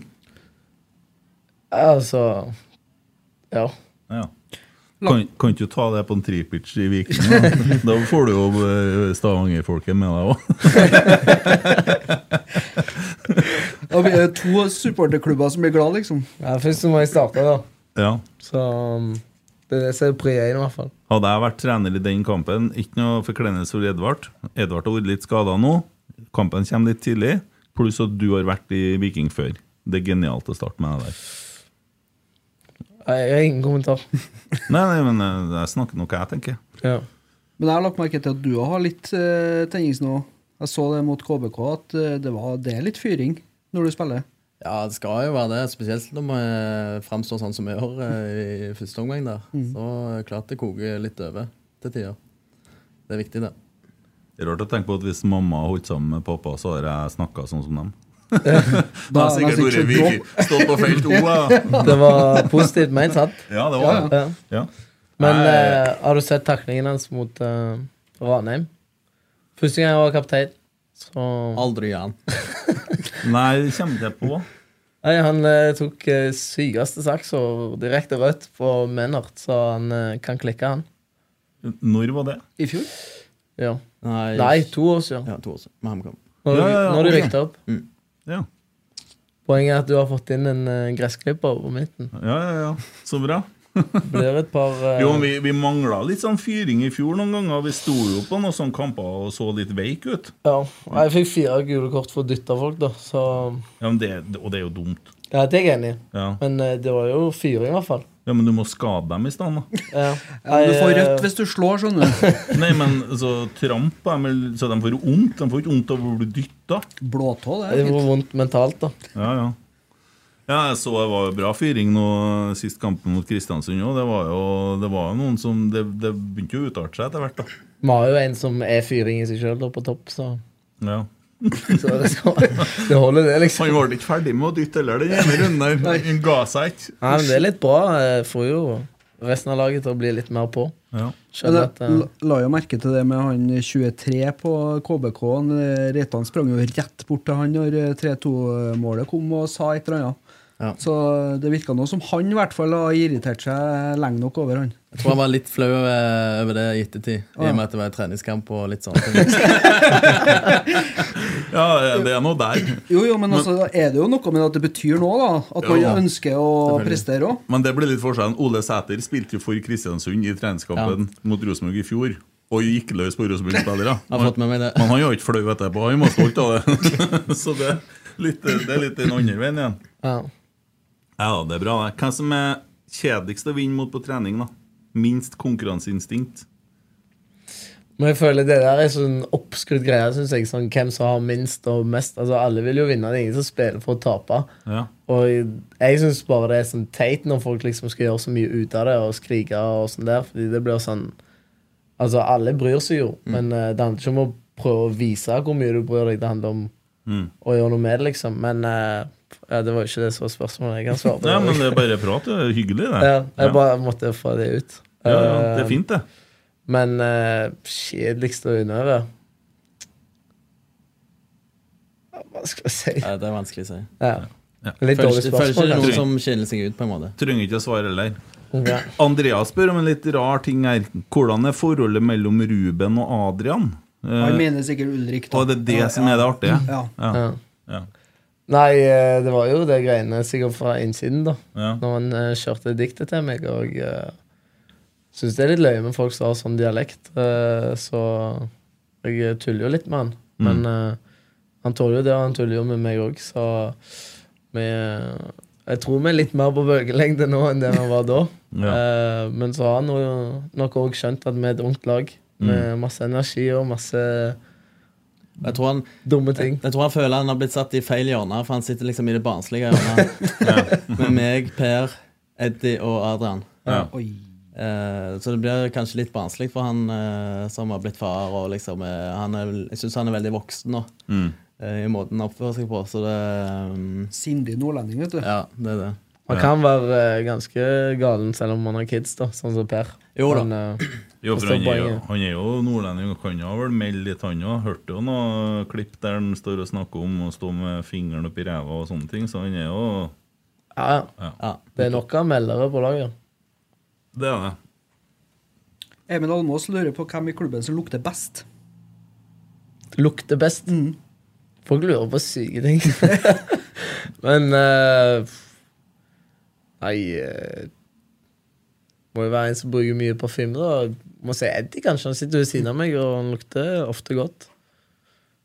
Altså Ja.
Ja. Kan, kan ikke du ta det på en tripitch i Viken? Da? da får du jo eh, Stavanger-folket med deg òg.
Da blir det to supporterklubber som blir glad, liksom.
ja først så må jeg starte, da.
Ja.
Så um, det er det som er prien, i hvert fall.
Hadde jeg vært trener i den kampen, ikke noe forkleinelse for Edvard. Edvard har vært litt skada nå. Kampen kommer litt tidlig. Pluss at du har vært i Viking før. Det er genialt å starte med det der.
Jeg jeg har ingen kommentar.
Nei, nei, men eh, jeg snakker nå hva jeg tenker.
Ja.
Men jeg har lagt merke til at du har litt eh, tennings nå. Jeg så det mot KBK, at eh, det, var, det er litt fyring når du spiller.
Ja, det skal jo være det. Spesielt når vi framstår sånn som vi gjør eh, i første omgang. der.
Mm.
Så eh, klart det koker litt over til tider. Det er viktig, det.
Det er rart å tenke på at hvis mamma holdt sammen med pappa, så hadde jeg snakka sånn som dem.
Da
Jeg har
er
sikkert
jeg
vært
sikkert
Viking. Stått på felt O, ja.
Det var positivt ment, sant?
Ja, det var det.
Ja.
Ja.
Men
Nei,
eh, har du sett taklingen hans mot eh, Ranheim? Første gang jeg var kaptein, så
Aldri gjør han.
nei, det kommer jeg på.
Nei, Han eh, tok eh, sykeste saks og direkte rødt på Mennert, så han eh, kan klikke, han.
Når var det?
I fjor?
Ja.
Nei,
Nei, to år siden.
Ja, to år siden. Med HamKam.
Når, du-
Ja, ja, ja,
når du
ok.
rykte opp.
Ja.
Poenget er at du har fått inn en eh, gressklipper på midten.
ja, ja, ja. Så bra.
Det blir et par eh,
Jo, men vi, vi mangla litt sånn fyring i fjor noen ganger. Vi sto jo på noen sånne kamper og så litt veik ut.
Ja, og jeg fikk fire gule kort for å dytte folk, da, så
Ja, men det, og det er jo dumt.
Ja, det er jeg enig i.
Ja.
Men eh, det var jo fyring, i hvert fall.
ja, Men du må skade dem i stedet. da.
Ja.
Ja, du får
Jeg, eh,
rødt hvis du slår, skjønner du.
Nei, men så tramp dem, eller- så de får jo vondt. De får ikke vondt av hvor du dytta.
Blåtå, det
Det
er
gjorde
fint.
vondt mentalt, da.
Ja, ja. Ja, jeg så det var jo bra fyring nå sist kampen mot Kristiansund òg. Det var jo det var jo noen som Det, det begynte jo å utarte seg etter hvert, da.
Vi har jo en som er fyring i seg sjøl, på topp, så,
Ja.
så det, skal, det holder, det, liksom.
Han ble ikke ferdig med å dytte heller, den ene runden der. Han ga seg ikke.
Nei, men det er litt bra. Jeg får jo resten av laget til å bli litt mer på.
Ja.
Ja,
Skjønner at
det,
eh,
la jo merke til det med han 23 på KBK. Han, eh, Reitan sprang jo rett bort til han når eh, 3-2-målet kom og sa et eller annet.
Ja.
Så det virka nå som han i hvert fall har irritert seg lenge nok over han.
Jeg tror han var litt flau eh, over det i ettertid, i og med at det var en treningskamp og litt sånn.
ja, det er noe der.
Jo, jo, men altså, da er det jo noe med at det betyr noe, da. At man
Ja.
ønsker å prestere òg.
Men det blir litt forskjellen. Ole Sæter spilte jo for Kristiansund i treningskampen mot Rosenborg i fjor. og gikk løs på Rosenborg-spillere.
Jeg har fått med meg det.
Men han var ikke flau etterpå, han var stolt av det. Så det, er litt, det er litt den andre veien igjen.
Ja.
Ja, det er bra. det. Hvem som er kjedeligst å vinne mot på trening? da? Minst konkurranseinstinkt?
Men jeg føler det der er sånn oppskrutt greie, synes jeg. Sånn, hvem som har minst og mest. Altså, alle vil jo vinne. Det er ingen som spiller for å tape.
Ja.
Og jeg syns bare det er sånn teit når folk liksom skal gjøre så mye ut av det og skrike og sånn der, fordi det blir sånn Altså, alle bryr seg jo,
Mm.
men eh, det handler ikke om å prøve å vise hvor mye du bryr deg. Det handler om
Mm.
å gjøre noe med det, liksom. Men eh, ja, det var jo ikke det som var spørsmålet. Jeg kan svare på det.
ja, men det er bare prat. Det er hyggelig, det.
Ja, jeg bare måtte få det ut.
ja, ja, det
Eh,
er fint, det.
Men eh, kjedeligst å underøve Ja, Hva skal jeg si?
Ja, det er vanskelig å si.
Ja.
Ja.
Litt
Føler
dårlig
ikke, føler ikke det er
spørsmål,
noe
kanskje.
som skiller seg ut, på en måte.
Trenger ikke å svare heller.
Ja.
Andreas spør om en litt rar ting her. Hvordan er forholdet mellom Ruben og Adrian?
Han
Eh,
mener sikkert Ulrik.
og det er det som er det artige?
Ja.
Ja.
Ja.
Ja.
Nei, eh, det var jo det greiene sikkert fra innsiden, da.
Ja.
Når han eh, kjørte diktet til meg, og uh, syns det er litt løye med folk som har sånn dialekt, eh, så jeg eh, tuller jo litt med han. Men eh, han tåler jo det, og han tuller jo med meg òg, så vi eh, Jeg tror vi er litt mer på bølgelengde nå enn det vi var da. Eh, men så har han jo nok òg skjønt at vi er et ungt lag med masse energi og masse
Jeg tror han,
dumme ting.
jeg tror han føler han har blitt satt i feil hjørne, for han sitter liksom i det barnslige hjørnet med meg, Per, Eddie og Adrian.
Ja.
Oi.
Eh, så det blir kanskje litt barnslig for han eh, som har blitt far. Og liksom, eh, han er, vel- jeg syns han er veldig voksen nå,
Mm.
eh, i måten han oppfører seg på. Så det mm,
Sindig nordlending, vet du.
Ja, det er det.
Han
Ja.
kan være eh, ganske galen selv om han har kids, da, sånn som Per.
Jo da.
Men, eh,
Jo, for
Forstår
han, er jo,
poenget.
han er jo nordlending og kan jo vel melde litt, han òg. Hørte jo noe klipp der han står og snakker om å stå med fingeren oppi ræva og sånne ting, så han er jo
ja,
Ja.
det er nok av meldere på laget.
Det er det.
Emil Almås lurer på hvem i klubben som lukter best.
Lukter best.
Mm.
Folk lurer på syke ting. Men eh, Nei eh, Må jo være en som bruker mye parfyme, da. Må si Eddie, kanskje. Han sitter ved siden av meg, og han lukter ofte godt.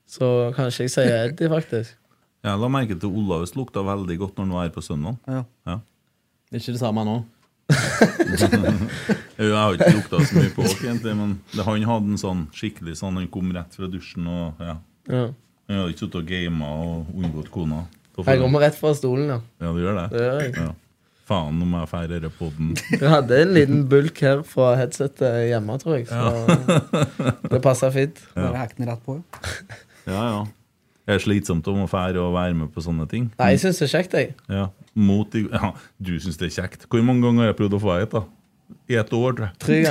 Så kanskje jeg sier Eddie, faktisk.
Jeg la merke til Olavs lukta veldig godt når han var her på søndag.
Ja.
Ja.
Det er ikke det samme nå.
Jo, Jeg har ikke lukta så mye på oss, egentlig, men det, han hadde en sånn skikkelig sånn Han kom rett fra dusjen og ja.
Ja.
Han hadde ikke sittet og gama og unngått kona. Da får
Jeg
han-
kommer rett fra stolen, ja.
Ja, du gjør det?
Det gjør jeg.
Ja. Faen om jeg får denne poden.
Jeg hadde en liten bulk her fra headsetet hjemme, tror jeg. Så det passa fint.
Bare hekk den rett på. ja.
Ja, ja. Det er slitsomt om å fære og være med på sånne ting.
Nei, jeg syns det er kjekt, jeg.
Ja. Mot i, ja, du syns det er kjekt. Hvor mange ganger har jeg prøvd å få et, da? I et år, tror jeg.
Tre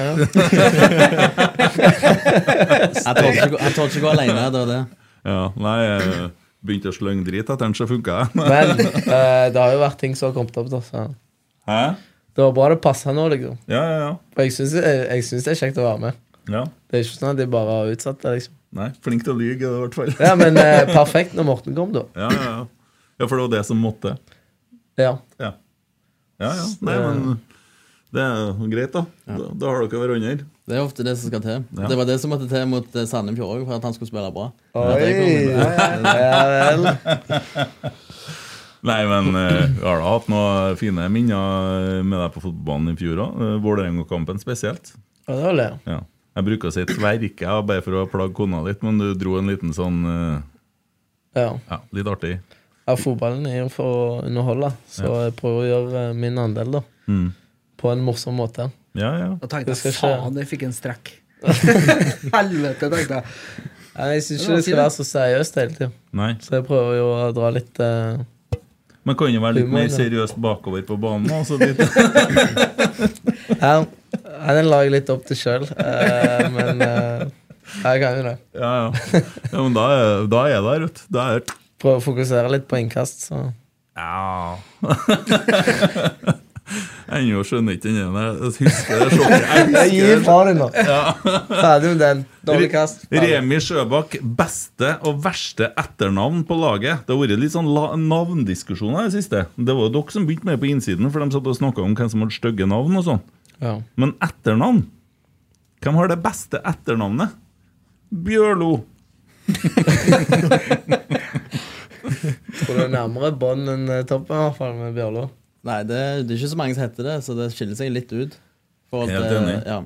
ganger.
Jeg tålte ikke, jeg tålte ikke gå alene. Det var det.
Ja, nei, jeg begynte å slønge drit etter den, så funka jeg.
Men eh, det har jo vært ting som har kommet opp, da. Så.
Hæ?
Det var bra det passa nå, liksom.
Ja, ja, ja.
For jeg syns det er kjekt å være med.
ja.
Det er ikke sånn at de bare har utsatt det, liksom.
Nei, flink til å lyge, i hvert fall.
Ja, men eh, perfekt når Morten kom, da.
Ja, ja, ja. ja, for det var det som måtte.
Ja.
Ja, ja. ja. Nei, men det er jo greit, da. Da, da har dere hverandre.
Det er ofte det som skal til.
Ja.
Det var det som måtte til mot eh, Sandefjord også, for at han skulle spille bra.
Oi.
Det kom inn.
Ja vel.
Nei, men eh, vi har da hatt noen fine minner med deg på fotballbanen i fjor òg. Vålerenga-kampen spesielt.
Ja, det var det.
Ja. Jeg bruker å si tverke ja, bare for å plage kona litt, men du dro en liten sånn eh,
Ja.
Ja, litt artig.
ja, fotballen er jo for å underholde, så jeg prøver å gjøre eh, min andel, da.
Mm.
På en morsom måte.
Ja, ja.
Da tenkte
Det skal
jeg
skje.
faen, jeg fikk en strekk. Helvete, tenkte jeg.
Ja, Jeg syns
Det
ikke
var
det skal
fint.
være så seriøst hele tida.
Nei.
Så jeg prøver jo å dra litt eh,
Men kan jo være litt
Humor,
mer
da.
seriøst bakover på banen. Altså litt,
her. Ja, Den la jeg litt opp til sjøl, men eh, jeg kan jo det.
ja, ja. ja, men da er, da er jeg der, vet du. Da er jeg
Prøve å fokusere litt på innkast, så
Ja. Ennå skjønner ikke den der. Jeg husker det sjokket. Jeg husker
Jeg gir fra deg nå! Ferdig med den. Dårlig kast. Ferdig.
Remi Sjøbakk, beste og verste etternavn på laget. Det har vært litt sånn la- navndiskusjoner i det siste. Det var jo dere som begynte med på innsiden, for de satt og snakka om hvem som hadde stygge navn og sånn.
Ja.
Men etternavn Hvem har det beste etternavnet? Bjørlo.
Tror det er nærmere bånd enn eh, toppen, i hvert fall, med Bjørlo.
Nei, det, det er ikke så mange som heter det, så det skiller seg litt ut. Forhold
Helt
til-
enig.
Ja.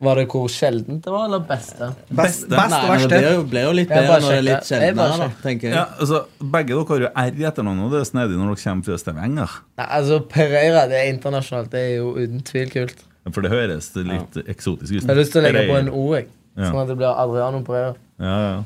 Var det hvor sjeldent det var, eller beste?
Best,
Beste.
best
Nei,
og
men det
verste.
blir jo, blir jo litt
Jeg
bedre
bare
når det er litt
sjekker. Jeg bare
sjeldnere, da, tenker jeg.
Ja, altså, begge dere har jo R i etternavnet, og det er snedig når dere kommer fra Stavanger.
Nei, altså Pereira det er internasjonalt. Det er jo uten tvil kult.
For det høres litt eksotisk ut.
Jeg har lyst til å legge på en
Pereira.
O, jeg.
Ja.
Sånn at det blir Adriano Pereira.
Ja, ja.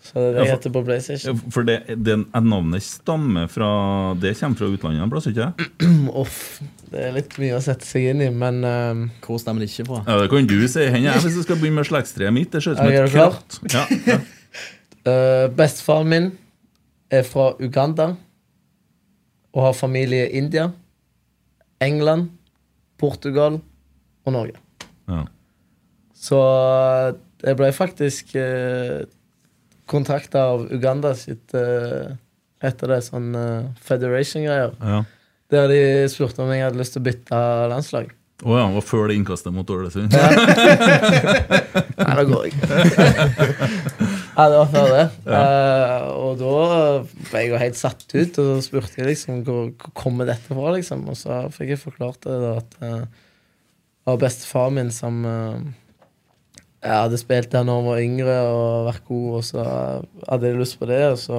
Så det er
Ja,
det jeg
for-
heter på PlayStation.
Ja, For det, den, navnet stammer fra Det kommer fra utlandet en plass, ikke det?
Uff. Det er litt mye å sette seg inn i, men ehm,
Hvor stemmer det ikke fra?
Ja, det kan du si. Hen er jeg hvis jeg skal begynne med slektstreet mitt. Det ser ut som
Er
et
du klar?
kratt. Ja, ja.
eh, Bestefaren min er fra Uganda og har familie i India, England, Portugal og Norge.
Ja.
Så jeg ble faktisk eh, kontakta av Uganda sitt eh, etter det sånn eh, Federation-greier.
Ja.
Der de spurte om jeg hadde lyst til å bytte landslag.
Å ja, og før det innkastet mot Ålesund.
Nei, da går jeg. ja, det var før det. Eh, og da ble jeg jo helt satt ut, og så spurte jeg liksom hvor, hvor kommer dette fra, liksom. Og så fikk jeg forklart det da at eh, det var bestefaren min som eh, jeg hadde spilt der da han var yngre og vært god, og så hadde jeg lyst på det. Og så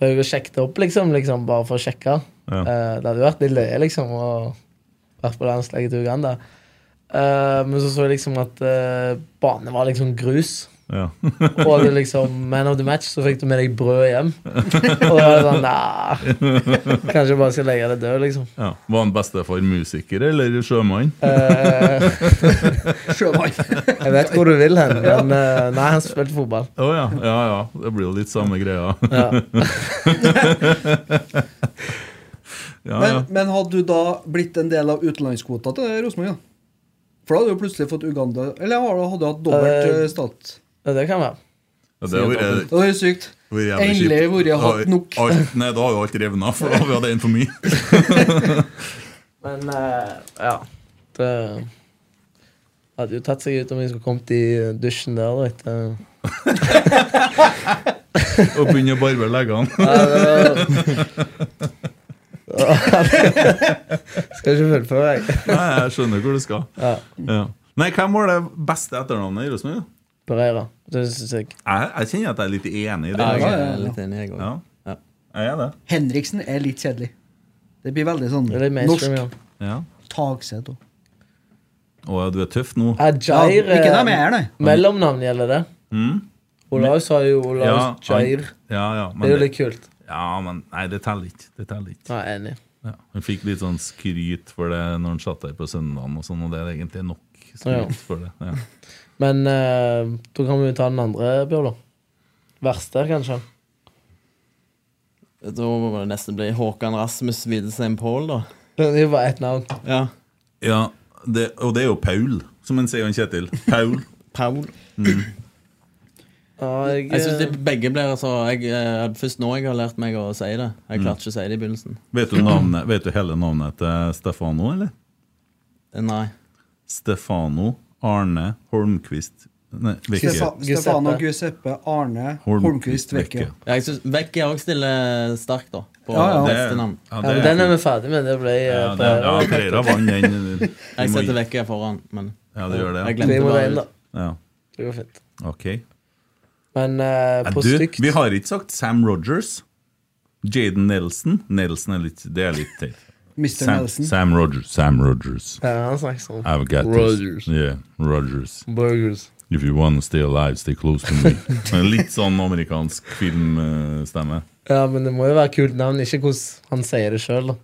drev jeg og sjekket det opp, liksom, liksom, bare for å sjekke.
Ja.
Eh, det hadde jo vært litt løye, liksom, å vært på landslaget til Uganda. Eh, men så så jeg liksom at uh, banen var liksom grus.
Ja.
Og det liksom Man of the match, så fikk du med deg brød hjem. Og da var det sånn Nei, kanskje jeg bare skal legge det død, liksom.
Ja. Var han bestefar musiker eller sjømann?
Eh,
Sjømann.
jeg vet hvor du vil hen, men eh, nei, han spilte fotball.
Å ja. ja, ja. Det blir jo litt samme greia.
Ja.
Ja, ja.
Men, men hadde du da blitt en del av utenlandskvota til Rosenborg, da? For da hadde du plutselig fått Uganda Eller hadde du- hadde du hatt dobbelt
Eh,
eh, stat?
Ja, Det kan være.
Ja, Det har vært
Det hadde vært sykt.
vært jævlig
Endelig
kjipt.
hvor jeg har hatt
Da-
nok.
alt- Nei, da har jo alt revna, for da har vi hatt en for mye.
Men eh, ja Det hadde jo tatt seg ut om jeg skulle kommet i dusjen der. eh. da, etter-
Og begynne å barbere leggene.
Nei, det Skal ikke fullføre, jeg.
Nei, jeg skjønner hvor du skal.
Ja.
Ja. Nei, hvem var det beste etternavnet i Rosenborg?
Pereira. Det syns jeg.
Jeg, jeg kjenner at jeg er litt enig i det.
Ja, jeg
altså.
ja, ja.
er litt enig, jeg òg.
Ja.
Ja.
Jeg er det.
Henriksen er litt kjedelig. Det blir veldig sånn
Det er litt mainstream,
norsk
ja.
Ja.
taksett òg.
Å ja, du er tøff nå.
Ja,
Ajair
ikke dem
eh,
er nei.
Mellomnavn gjelder det.
Mm.
Olaus har jo
Ja,
Olaus
han-
Jair.
Ja, ja, men
Det er jo
det-
litt kult.
Ja, men nei, det teller ikke. Det teller ikke.
Ja, jeg er enig.
Ja. Hun fikk litt sånn skryt for det når hun satt der på søndagen, og sånn, og det er egentlig nok
Ja.
skryt for det. Ja.
Men eh, da kan vi jo ta den andre, Bjørlo. Verste, kanskje.
Da må det nesten bli Håkan Rasmus Widesheim Paul, da.
Det er jo bare ett navn.
Ja.
ja, det, og det er jo Paul, som han sier han Kjetil. Paul.
Paul.
Ja, jeg,
Jeg synes
eh,
de begge blir altså jeg, eh, Først nå jeg har lært meg å si det. Jeg klarte ikke å si det i begynnelsen.
Vet du, navnet, vet du hele navnet til Stefano, eller?
Eh, Nei.
Stefano Arne Holmquist Nei, Vekke.
Stefa-
Giuseppe.
Stefano Giuseppe Arne
Holm-
Holmquist Vekke.
Ja, jeg synes Vekke òg stiller sterkt, da. På
Ja, ja.
Det-
beste navn.
Ja,
ja, men
det
den er
er
vi ferdig med. Det ble eh,
ja, det,
Pereira.
ja, Pereira vant den. Vi
Jeg
må-
setter Vekke foran, men
Ja, det gjør
jeg
det.
Vi
glemte
må
bare
inn, da.
ut.
Ja.
Det går fint.
Ok.
Men eh,
Nei,
på
du,
stygt
Vi har ikke sagt Sam Rogers. Jaden Nelson. Nelson er litt Det er litt teit.
Mr.
Sam,
Nelson.
Sam Rogers. Sam Rogers.
Ja, han snakker sånn.
I've got
Rodgers.
this. Yeah, Rogers.
Burgers.
If you want to stay alive, stay close to me. En litt sånn amerikansk filmstemme.
Ja, men det må jo være kult navn, ikke hvordan han sier det sjøl, da.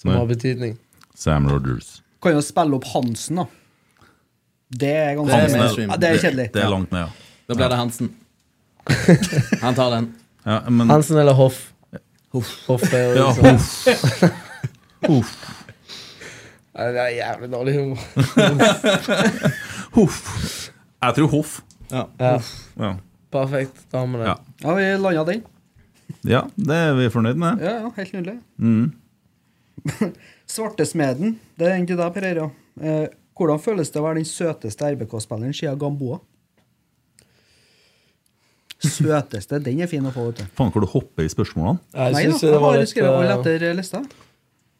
Som
Nei.
har betydning.
Sam Rogers.
Kan jo spille opp Hansen, da. Det er ganske
Hansen er-
mainstream. ja, det er kjedelig.
Det er langt ned, ja.
Da blir det Hansen. Han tar den.
ja men,
Hansen eller Hoff? Hoff er jo
ja,
liksom
huff. Huff.
Nei, Det er jævlig dårlig humor.
Huff. Jeg tror Hoff.
Ja.
Ja,
Ja.
perfekt. Da har vi det.
Ja.
Ja, vi landa den.
ja, det er vi fornøyd med.
Ja, ja, helt
Mm.
nydelig. Svartesmeden. Det er egentlig deg, Per Eira. Eh, Hvordan føles det å være den søteste RBK-spilleren siden Gamboa? Søteste. Den er fin å få, vet du.
Faen, hvor du hopper i spørsmålene.
Jeg
Nei da,
synes
jeg
det var
har
litt,
skrevet alle
eh,
etter lista.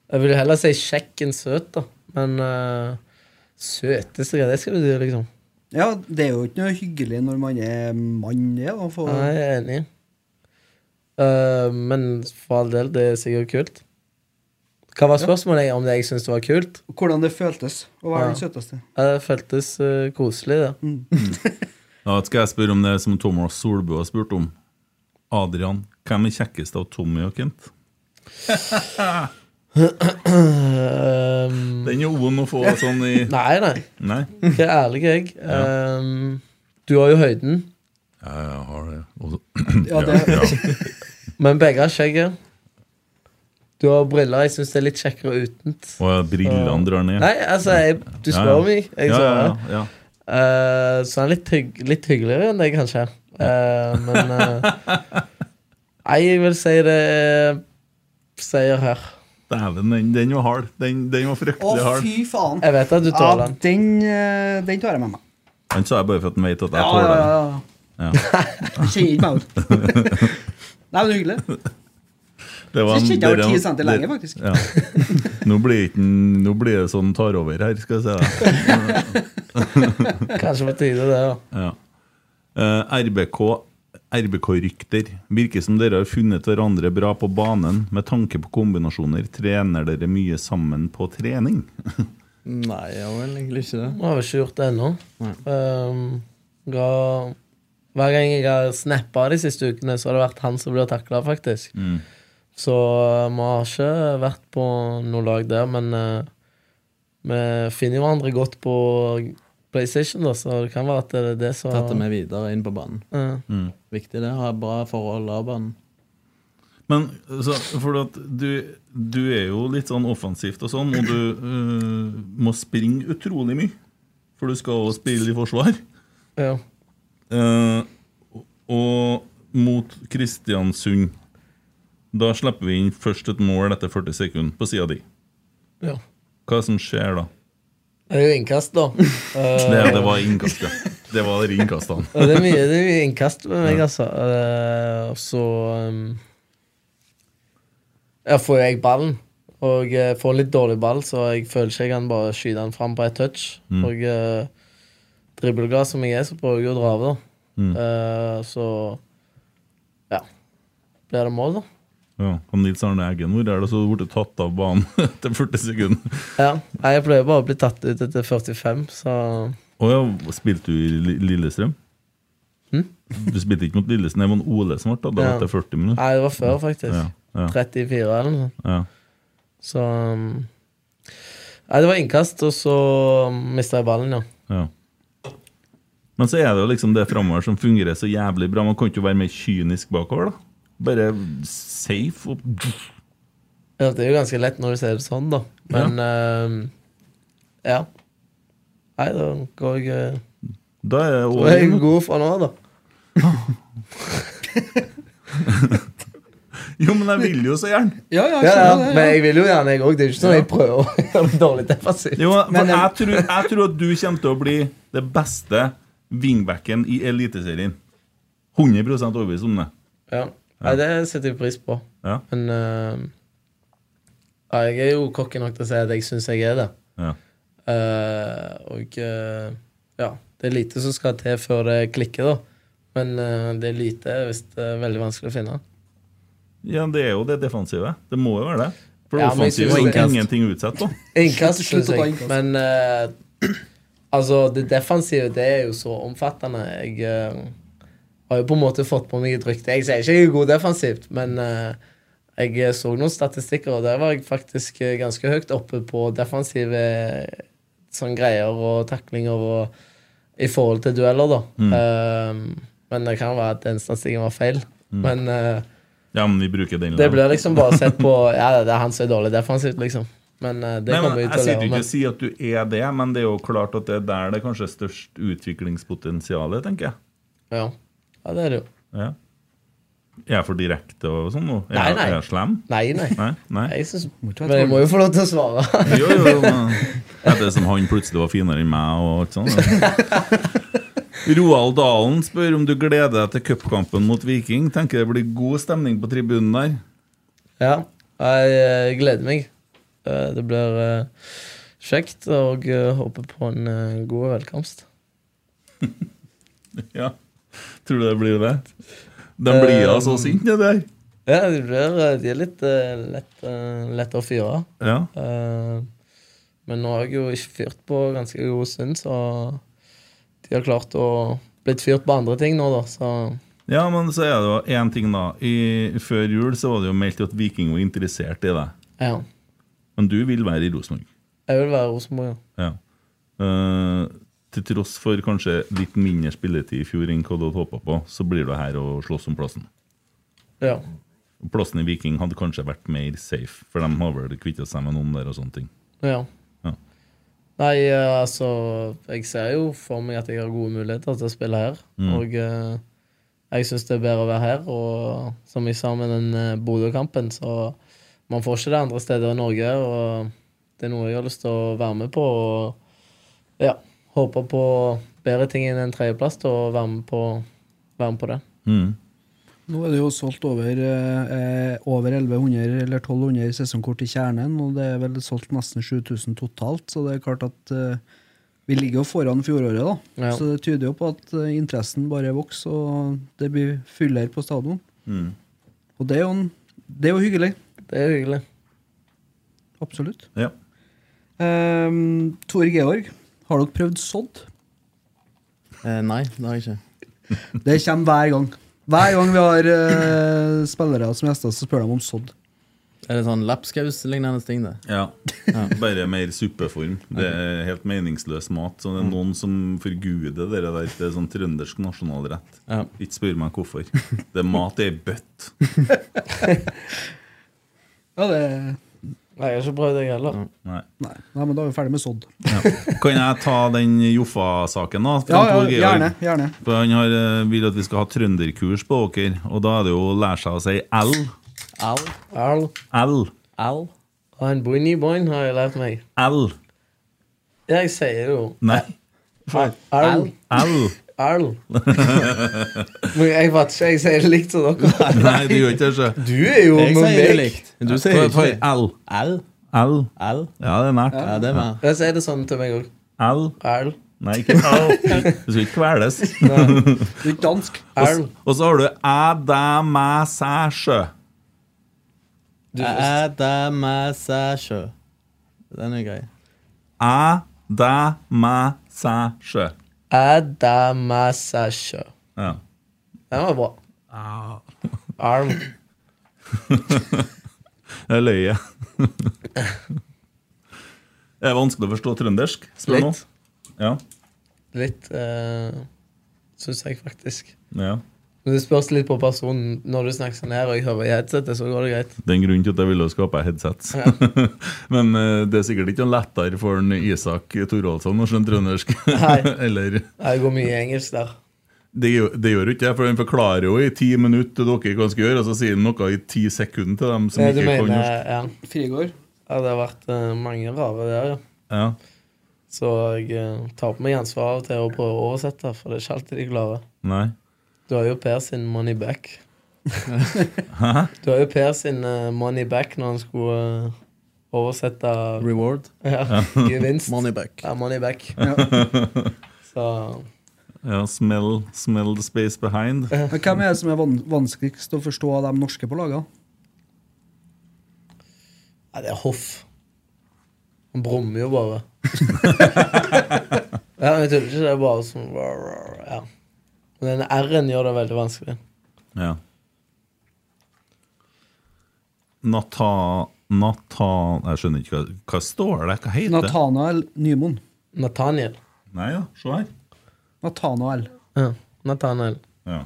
Jeg ville heller si kjekk enn søt, da. Men eh, søteste greia, det skal bety, liksom.
Ja, det er jo ikke noe hyggelig når man er mann, det. da, å få-
Nei, jeg er enig. Eh, men for all del, det er sikkert kult. Hva var spørsmålet om det jeg syntes det var kult?
Hvordan det føltes å være
Ja.
den søteste.
Ja, Det føltes eh, koselig, det.
Da skal jeg spørre om det som Thomas Solbø har spurt om. Adrian, hvem er kjekkest av Tommy og Kent?
Ehm,
Den er vond å få sånn i
nei, nei.
Nei?
Det er ærlig, jeg. Ehm, du har jo høyden,
Ja, jeg har det. Og-
Ja, det-
ja.
men begge har skjegget. Du har briller. Jeg syns det er litt kjekkere utent.
Og ja, brillene drar ned.
Nei, altså, jeg, du
Ja,
spør
ja.
meg. Jeg
ja,
svarer.
ja, ja.
Eh, så han er litt, hygg, litt hyggeligere enn det, kanskje. Eh, men eh, Nei, jeg vil si det er seier her.
Dæven, den, den var hard. Den, den var
Å,
fryktelig hard.
fy faen!
Jeg vet at du
Ja,
tåler den.
den, eh, den tar jeg med meg.
Han sa jeg bare for at han vet at jeg
Ja,
tåler det.
ja, ja.
Ja.
Jeg kjenner ikke meg ut. Nei, men hyggelig.
Det
Så kjente jeg over
dere-
10 cm lenger,
det-
faktisk.
Ja. Nå blir, ikke, den- nå blir det sånn tar over her, skal jeg si deg.
Kanskje på tide, det. da
Ja. Eh, RBK RBK-rykter. Virker som dere har funnet hverandre bra på banen med tanke på kombinasjoner. Trener dere mye sammen på trening?
Nei, jeg har vel egentlig ikke det.
Vi har ikke gjort det ennå. Ehm, ga- hver gang jeg har snappa de siste ukene, så har det vært han som blir takla, faktisk.
Mm.
Så eh, vi har ikke vært på noe lag der, men eh, vi finner jo hverandre godt på PlayStation, da, så det kan være at det er det som
Tatt det med Mm. videre inn på banen.
Ja.
Viktig det. Ha bra forhold av banen.
Men så, for at du, du er jo litt sånn offensivt og sånn, og du eh, må springe utrolig mye. For du skal jo spille i forsvar.
Ja.
Eh, og mot Kristiansund Da slipper vi inn først et mål etter 40 sekunder på sida di.
ja.
Hva er det som skjer da?
Det er jo innkast, da. Eh,
Det, det var innkastet. Det var de innkastene.
og det, er mye, det er mye innkast med meg, altså. Eh, og så um, Jeg får jo jeg ballen, og jeg får litt dårlig ball, så jeg føler ikke jeg kan bare skyte den fram på et touch.
Mm.
Og eh, dribbelglad som jeg er, så prøver jeg å dra av, da.
Mm.
Eh, så ja. Blir det mål, da?
Ja, og Nils Arne Eggen, hvor er det så ble tatt av banen etter 40 sekunder?
Ja. Nei, jeg pleier bare å bli tatt ut etter 45, så
Å ja, spilte du i Li- Lillestrøm? Du spilte ikke mot Lillestrøm, det var en Ole som ble tatt av
Ja.
etter 40 minutter.
Nei, det var før, faktisk.
Ja, ja.
34 eller noe sånt.
Ja.
Så um, Nei, det var innkast, og så mista jeg ballen, ja.
Ja. Men så er det jo liksom det framover som fungerer så jævlig bra. Man kan ikke være mer kynisk bakover, da. Bare safe og
ja. Det er jo ganske lett når du ser det sånn, da. Men um, ja. Nei, da går jeg eh,
Da er det
Da er jeg
over.
god for nå, da.
Jo, men jeg vil jo så gjerne!
Ja,
Ja,
ja,
ja,
skjønner det.
men jeg vil jo gjerne, jeg òg. Det er jo ikke sånn at jeg prøver å gjøre det dårlig defensivt.
Jo, for
Men-
jeg tror, jeg tror at du kommer til å bli det beste wingbacken i Eliteserien. 100 overbevist om det.
Ja. Nei, det setter jeg pris på.
Ja.
Men um, ja, jeg er jo cocky nok til å si at jeg syns jeg er det.
Ja.
Eh, og eh, ja, det er lite som skal til før det klikker, da. Men eh, det er lite hvis det er veldig vanskelig å finne.
ja, det er jo det defensive. Det må jo være det. For
Ja, men jeg
offensive
synes
er
det-
ingenting utsatt på.
Innkast,
Slutt- slutt
syns
å ta
jeg.
innkast.
Men eh, altså, det defensive, det er jo så omfattende. Jeg eh, har jo på en måte fått på meg et rykte. Jeg sier ikke jeg er god defensivt, men eh, jeg så noen statistikker, og der var jeg faktisk eh, ganske høyt oppe på defensive sånn greier og taklinger og i forhold til dueller, da.
Mm.
Eh, men det kan være at den statistikken var feil. Men eh,
Mm. Ja, men vi bruker den.
det
likevel.
blir liksom bare sett på Ja, det er han som er dårlig defensivt, liksom. Men eh, det
Nei,
kommer
men
vi
Jeg
til å
sitter
leve
jo
med.
ikke og sier at du er det, men det er jo klart at det er der det er kanskje er størst utviklingspotensial, tenker jeg.
Ja. ja, det er det jo.
Ja. Er jeg for direkte og sånn nå? Er,
Nei,
jeg-
nei.
er jeg slem?
Nei, nei.
Nei? nei.
Jeg synes, men
ikke være
jeg må jo få lov til å svare.
Jo, jo, jo. men- Etter det som han plutselig var finere enn meg og alt sånt. ja. Roald Dalen spør om du gleder deg til cupkampen mot Viking. Tenker det blir god stemning på tribunen der.
Ja, jeg eh, gleder meg. Eh, Det blir eh, kjekt, og eh, håper på en eh, god velkomst.
Ja. Tror du det blir det? De blir
Eh,
altså sinte, det der.
Ja, de, blir, eh, de er litt eh, lett, eh, lette å fyre.
Ja.
Eh, Men nå har jeg jo ikke fyrt på ganske god stund, så de har klart å blitt fyrt på andre ting nå, da. Så
ja, men så er det jo én ting, da. I, før jul så var det jo meldt at Viking var interessert i deg.
ja.
Men du vil være i Rosenborg.
Jeg vil være Rosenborg,
Ja.
ja.
Eh, til tross for kanskje litt mindre spilletid i fjor enn hva du hadde håpa på, så blir du her og slåss om plassen.
ja.
Plassen i Viking hadde kanskje vært mer safe, for de har vel kvitta seg med noen der og sånne ting.
Ja.
Ja.
Nei, eh, altså Jeg ser jo for meg at jeg har gode muligheter til å spille her. Og eh, jeg syns det er bedre å være her. Og som jeg sa med den eh, Bodø-kampen, så man får ikke det andre steder i Norge. Og det er noe jeg har lyst til å være med på. Og ja, håper på bedre ting enn en tredjeplass da, og være med på, være med på det.
Mm.
Nå er det jo solgt over, eh, eh, over 1100 eller 1200 sesongkort i kjernen, og det er vel solgt nesten 7000 totalt, så det er klart at eh, vi ligger jo foran fjoråret, da.
Ja.
Så det tyder jo på at eh, interessen bare vokser, og det blir fullere på stadion.
Mm.
Og det er jo, en, det er jo hyggelig.
Det er jo hyggelig.
Absolutt.
Ja.
Ehm, Tor Georg, har dere prøvd sådd?
Eh, nei, det har jeg ikke.
Det kommer hver gang. Hver gang vi har eh, spillere som gjester, så spør de om sådd.
Er det sånn lapskaus-lignende ting, det?
ja. Bare mer suppeform. Det er helt meningsløs mat. Så det er noen som forguder det der. Det er sånn trøndersk nasjonalrett.
Ja.
Ikke spør meg hvorfor. Det er mat i ei bøtt.
Ja, det...
Nei, jeg har ikke prøvd det, jeg heller.
Nei.
Nei. Nei, men da er vi ferdig med sådd.
Ja. Kan jeg ta den Joffa-saken, da?
Ja,
Frank
ja,
Åge Georg?
gjerne. gjerne.
For han har, eh, vil at vi skal ha trønderkurs på dere, og da er det jo å lære seg å si L.
Al.
Arl.
L.
Al.
Og en boini boin har jeg lært meg.
L.
Ja, jeg sier jo
Nei.
Arl.
L.
Arl. Men jeg vet ikke, jeg sier det likt som dere.
Nei, du gjør ikke det.
Du er jo
Jeg
med
sier det
meg.
likt. Du sier
Ta- ta
ikke
i L.
Al.
L.
Al.
Ja, det er nært.
Ja, det er mer.
Jeg sier det sånn til meg òg.
L.
Arl.
Nei, ikke L. Du skal ikke kveles.
Du er ikke dansk.
Arl.
Og så har du æ, dæ, mæ, sæ, sjø.
Adamassasjø. Den er grei.
Æ, dæ, mæ, sæ, sjø.
Adamasasha.
Ja.
Den var bra. Ah. Arl.
Jeg løy. Det er vanskelig å forstå trøndersk. Spør nå.
Litt.
Ja.
Litt uh, Syns jeg faktisk.
ja.
Men det spørs litt på personen. Når du snakker sånn her og jeg hører i headsetet, så går det greit.
Det er en grunn til at jeg ville skape headsets. Men eh, det er sikkert ikke noe lettere for en Isak Thoraldsson å skjønne trøndersk.
Nei.
Eller
Jeg går mye engelsk der.
Det gjør det gjør jo ikke det, for han forklarer jo i ti minutter til dere hva han skal gjøre, og så sier han noe i ti sekunder til dem som
Ja, Eh, du
ikke kan
mener
norsk.
ja.
Frigård.
ja, det har vært eh, mange rare der, ja.
Ja.
Så jeg eh, tar på meg ansvaret av og til å prøve å oversette, for det er ikke alltid de klarer.
Nei.
Du har jo Per sin money back. du har jo Per sin eh, money back når han skulle eh, oversette
Reward.
ja, gevinst.
Money back.
Ja, money back. Så
Ja, smell, smell the space behind.
Men hvem er det som er van vanskeligst å forstå av de norske på laget?
ja, det er hoff. Han brummer jo bare. ja, men jeg tuller ikke. Det er bare sånn ja. Men den R-en gjør det veldig vanskelig.
Ja. Nata... Nata... Jeg skjønner ikke hva, hva står det? Hva heter det?
Nathanael Nymoen.
Nathaniel.
Nei, ja, se her.
Nathanael.
Ja, Nathaniel.
Ja.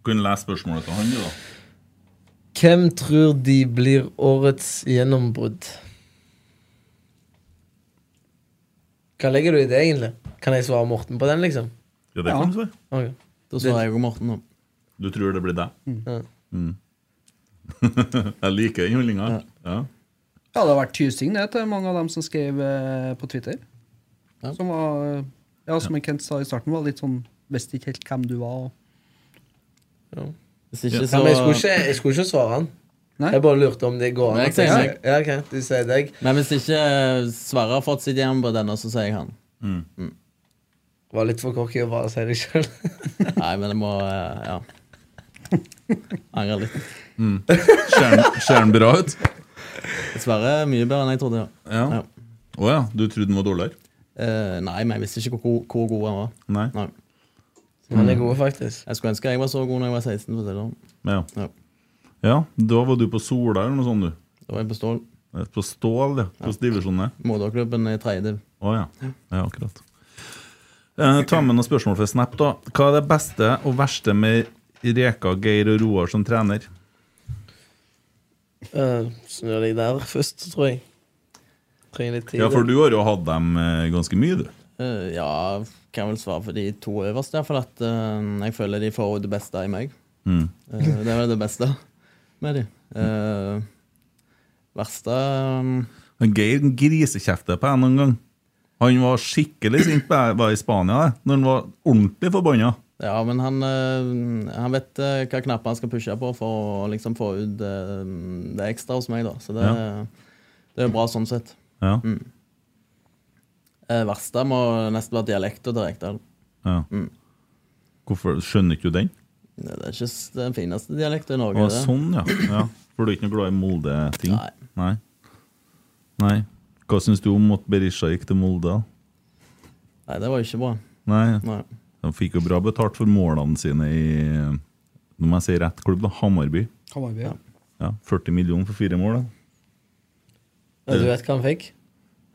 Du kan lese spørsmålet til han, du, da.
Hvem tror de blir årets gjennombrudd? Hva legger du i det, egentlig? Kan jeg svare Morten på den, liksom?
Ja, det
Ja.
kan du svare.
Ok.
Da svarer jeg og Morten nå.
Du tror det blir deg? Mm. jeg liker den holdninga. Ja.
Ja, det har vært tysing det til mange av dem som skrev eh, på Twitter.
Ja.
Som var, eh, ja, som Kent sa i starten, var litt sånn Visste ikke helt hvem du var. og-
Hvis ikke,
Ja,
så
men jeg skulle, ikke, jeg skulle ikke svare han.
Nei.
Jeg bare lurte om det går an.
Nei,
at
jeg sier
jeg- Ja, ok, du sier deg.
Nei, hvis ikke eh, Sverre har fått sitt hjem på denne, så sier jeg han.
Var litt for cocky å bare si det sjøl.
Nei, men jeg må eh, Ja. Angrer litt.
Ser den- Ser den bra ut?
Sverre er mye bedre enn jeg trodde. ja.
Ja. Å ja.
Ja.
du trodde den var dårligere?
Eh, nei, men jeg visste ikke hvor, god- hvor god han var.
Nei.
Nei. Mm.
Han er god, faktisk.
Jeg skulle ønske jeg var så god når jeg var 16. For å si det sånn.
Ja.
Ja.
ja, da var du på Sola eller noe sånt, du.
Da var jeg på Stål.
På Stål, ja. Hvilken divisjon er det?
Moderklubben i tredje div.
Å ja. ja, akkurat. Eh, ta med noen spørsmål fra Snap, da. Hva er det beste og verste med Reka, Geir og Roar som trener?
Eh, Snur deg der først, tror jeg. Trenger litt tid.
Ja, for du har jo hatt dem eh, ganske mye, du.
Eh, ja, kan vel svare for de to øverste. ja, For at eh, jeg føler de får det beste i meg.
Mm.
Eh, det var det beste med de. Eh, verste um,
Men Geir grisekjefta på en noen gang. Han var skikkelig sint på jeg var i Spania, det, når han var ordentlig forbanna.
Ja, men han, eh, han vet eh, hva knapper han skal pushe på for å liksom få ut eh, det ekstra hos meg, da. Så det,
Ja.
det er bra sånn sett.
Ja,
Eh, verste må nesten være dialekta til Rekdal.
ja.
Mm.
Hvorfor skjønner ikke du den?
Det er ikke s- den fineste dialekten i
Å,
Norge. det.
sånn, ja. ja. For du er ikke noe glad i Molde-ting?
Nei.
Nei. Nei. Hva syns du om at Berisha gikk til Molde? da?
Nei, det var jo ikke bra.
Nei.
Nei.
Han fikk jo bra betalt for målene sine i Nå må jeg si rett klubb, da. Hamarby.
Hamarby, ja.
Ja, 40 millioner for fire mål. da.
Ja, du vet hva han fikk?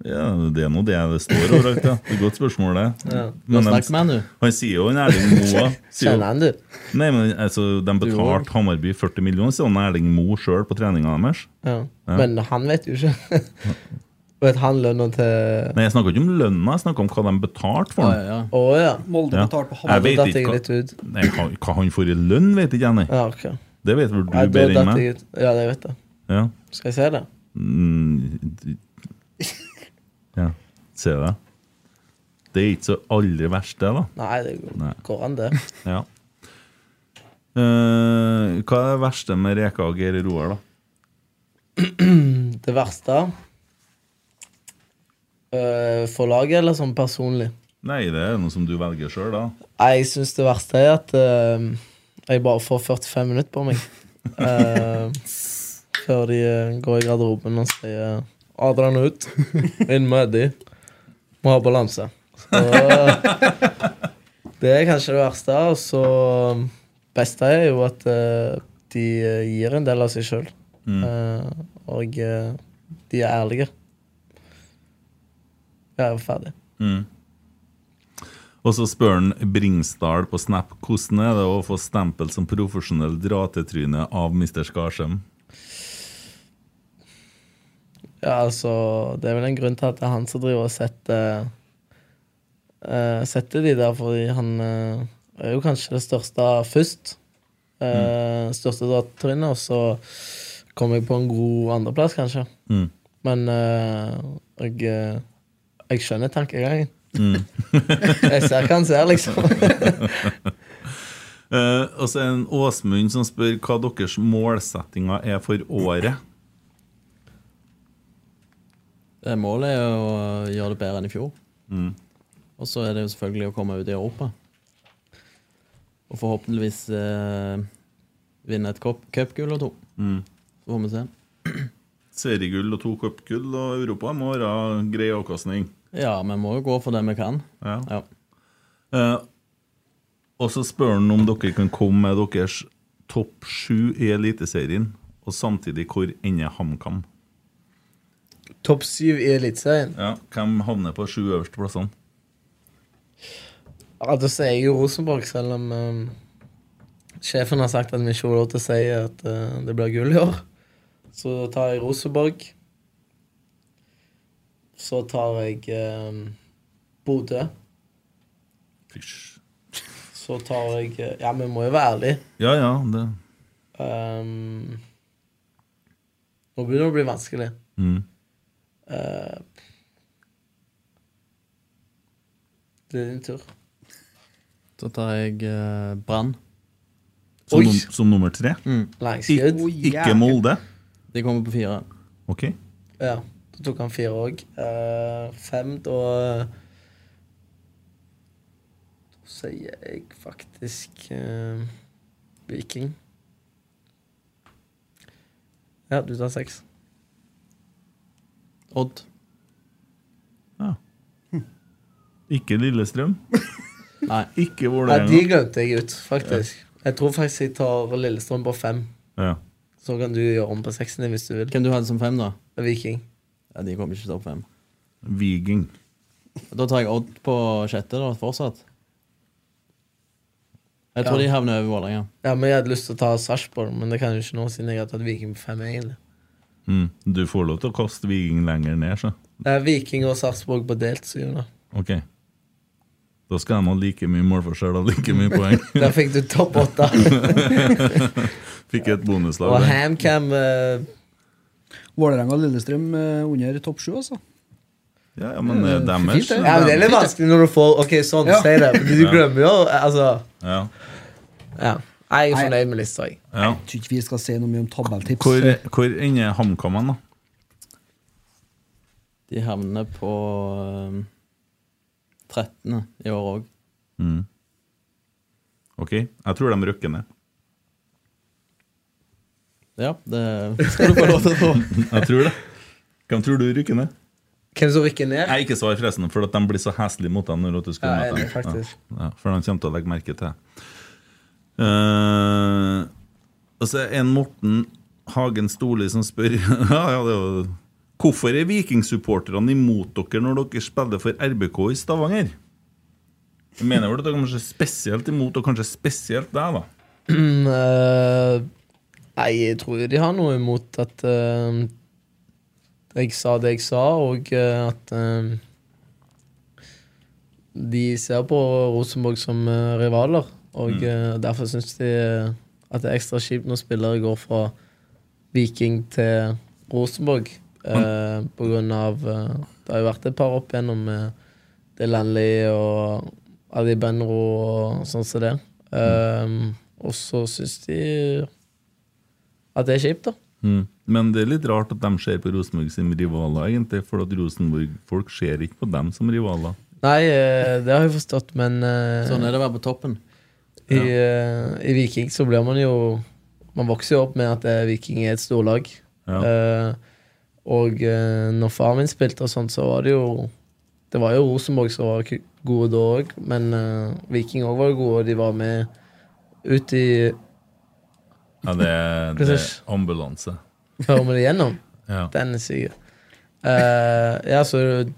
Ja, Det er nå det det står overalt. ja. Det er et godt spørsmål, det.
Ja.
Du
Men
har snakket
de,
med han, du.
han sier jo en Erling Moe sier
Kjenner
jo,
han, du?
Nei, men altså, De betalte Hamarby 40 millioner, sier han Erling Moe sjøl på treninga deres.
Ja. Men han vet jo ikke. vet han lønna til
Nei, Jeg snakka ikke om lønna, jeg snakka om hva de betalte for
Ja,
den.
ja.
Å ja.
Molde
Ja.
betalte på
Da
Jeg
Hamarby.
vet
datt
ikke
jeg
hva-
litt ut.
Nei, hva, hva han får i lønn, vet ikke jeg. Nei.
Ja, ok.
Det vet vel du
Nei, da
bedre enn
datt
meg.
jeg ut. Ja, jeg vet det.
Ja.
Skal jeg si det?
Mm, d- ja. Ser du det? Det er ikke så aller verst, det, da.
Nei, det går,
Nei.
går an, det.
Ja. Eh, hva er det verste med Reka og Geir Roar, da?
Det verste øh, For laget, eller sånn personlig?
Nei, det er noe som du velger sjøl, da.
Nei, Jeg syns det verste er at øh, jeg bare får 45 minutter på meg. Øh, før de øh, går i garderoben og sier 'Adrian ut. Inn med Eddie. Må ha balanse'. Så eh, det er kanskje det verste. Og så eh, beste er jo at øh, de øh, gir en del av seg sjøl. og øh, de er ærlige. Jeg er jo ferdig.
Og så spør han Bringsdal på Snap hvordan er det å få stempel som profesjonell dra-til-tryne av Mr. Skarsheim.
Ja, altså, det er vel en grunn til at det er han som driver og setter eh, Setter de der, fordi han eh, er jo kanskje det største først. Eh, Største datatrinnet, og så kom jeg på en god andreplass, kanskje.
Mm.
Men eh, jeg, eh, jeg skjønner tankegangen. jeg ser hva han ser, liksom.
Eh, og så er det en Åsmund som spør hva deres målsettinger er for året.
Eh, Målet er jo å gjøre det bedre enn i fjor. Og så er det jo selvfølgelig å komme ut i Europa. Og forhåpentligvis eh, vinne et cup- cupgull og to. Så får vi se.
Seriegull og to cupgull og Europa må være grei avkastning.
Ja, vi må jo gå for det vi kan.
Ja.
Ja.
Eh, og så spør han om dere kan komme med deres topp sju i Eliteserien, og samtidig hvor ender HamKam?
Topp syv i Eliteserien.
Ja, Hvem havner på sju øverste plassene?
Ja, da sier jeg jo Rosenborg, selv om eh, sjefen har sagt at vi ikke har lov til å si at eh, det blir gull i år. Så da tar jeg Rosenborg. Så ehm, tar jeg eh, Bodø.
Fysj.
så tar jeg eh, Ja, vi må jo være ærlige.
Ja, ja, det
Ehm, nå begynner det å bli vanskelig.
mm.
Eh, det er din tur.
Så tar jeg eh, Brann.
som,
Oi. Mm.
num som nummer tre.
Langskudd.
Ik ikke Molde.
De kommer på fire.
OK.
Ja, da tok han fire òg. fem, da Da sier jeg faktisk eh, Viking. Ja, du tar seks.
Odd.
Hm.
Ikke Lillestrøm.
Nei.
Ikke
Nei, de
Vålerenga.
glemte jeg ut, faktisk. Jeg tror faktisk jeg tar Lillestrøm på fem.
Ja.
Så kan du gjøre om på seksen din hvis du vil.
Hvem du hadde som fem, da?
Viking.
Ja, de kommer ikke til topp fem.
Viking.
Da tar jeg Odd på sjette, da, fortsatt. Jeg tror
Ja.
de havner over Vålerenga.
Ja, men Jeg hadde lyst til å ta Sarpsborg, men det kan jeg jo ikke nå siden jeg har tatt Viking på fem. egentlig.
Mm. Du får lov til å kaste Viking lenger ned, så.
Det er Viking og Sarpsborg på delt syvende.
OK. Da skal de ha like mye målforskjell og like mye poeng.
Der fikk du topp åtte.
Fikk et bonuslag.
Og
der.
HamKam eh,
Vålerenga og Lillestrøm eh, under topp sju, altså.
Ja, ja, men eh, deres
Mm, Fint, det.
Ja, men Det er litt
Fint,
vanskelig når du får Ok, sånn,
Ja.
si det. Men du glemmer jo Altså
ja.
ja. Jeg er
Nei.
fornøyd med lista, jeg.
ja.
Jeg tror ikke vi skal si noe mye om tabelltips.
Hvor, hvor ender HamKam hen, da?
De havner på um, 13. i år òg.
Mm. OK, jeg tror de rykker ned.
Ja, det skal du få lov til å tro.
Jeg tror det. Hvem tror du rykker ned?
Hvem som rykker ned?
Nei, ikke svar forresten, for at de blir så heslige mot deg når at du skal
Ja,
møte
jeg er enig,
dem.
faktisk.
Ja, ja, for han kommer til å legge merke til det. Eh, og så er en Morten Hagen Storli som spør ja, ja, det var, Hvorfor er vikingsupporterne imot dere når dere spiller for RBK i Stavanger? Jeg mener vel at dere er kanskje spesielt imot, og kanskje spesielt deg, da.
Mm, eh, nei, jeg tror jo de har noe imot at eh, jeg sa det jeg sa, og eh, at eh, de ser på Rosenborg som eh, rivaler. Og eh, derfor syns de eh, at det er ekstra kjipt når spillere går fra Viking til Rosenborg. eh, på grunn av eh, Det har jo vært et par opp gjennom eh, det Landli og Adi Benro og sånn som det.
Mm.
Ehm, og så syns de at det er kjipt, da.
Men det er litt rart at de ser på Rosenborg som rivaler, egentlig. For at Rosenborg-folk ser ikke på dem som rivaler.
Nei, eh, det har jeg forstått, men eh,
Sånn er det å være på toppen.
i, eh, i Viking så blir man jo Man vokser jo opp med at eh, Viking er et storlag.
Ja.
Eh, og eh, når faren min spilte og sånn, så var det jo Det var jo Rosenborg som var ku- gode da òg, men eh, Viking òg var gode, og de var med ut i
Ja, det, er- det er
Precis.
ambulanse.
Hører vi det gjennom?
Ja.
Den er syk. Eh, ja, så du,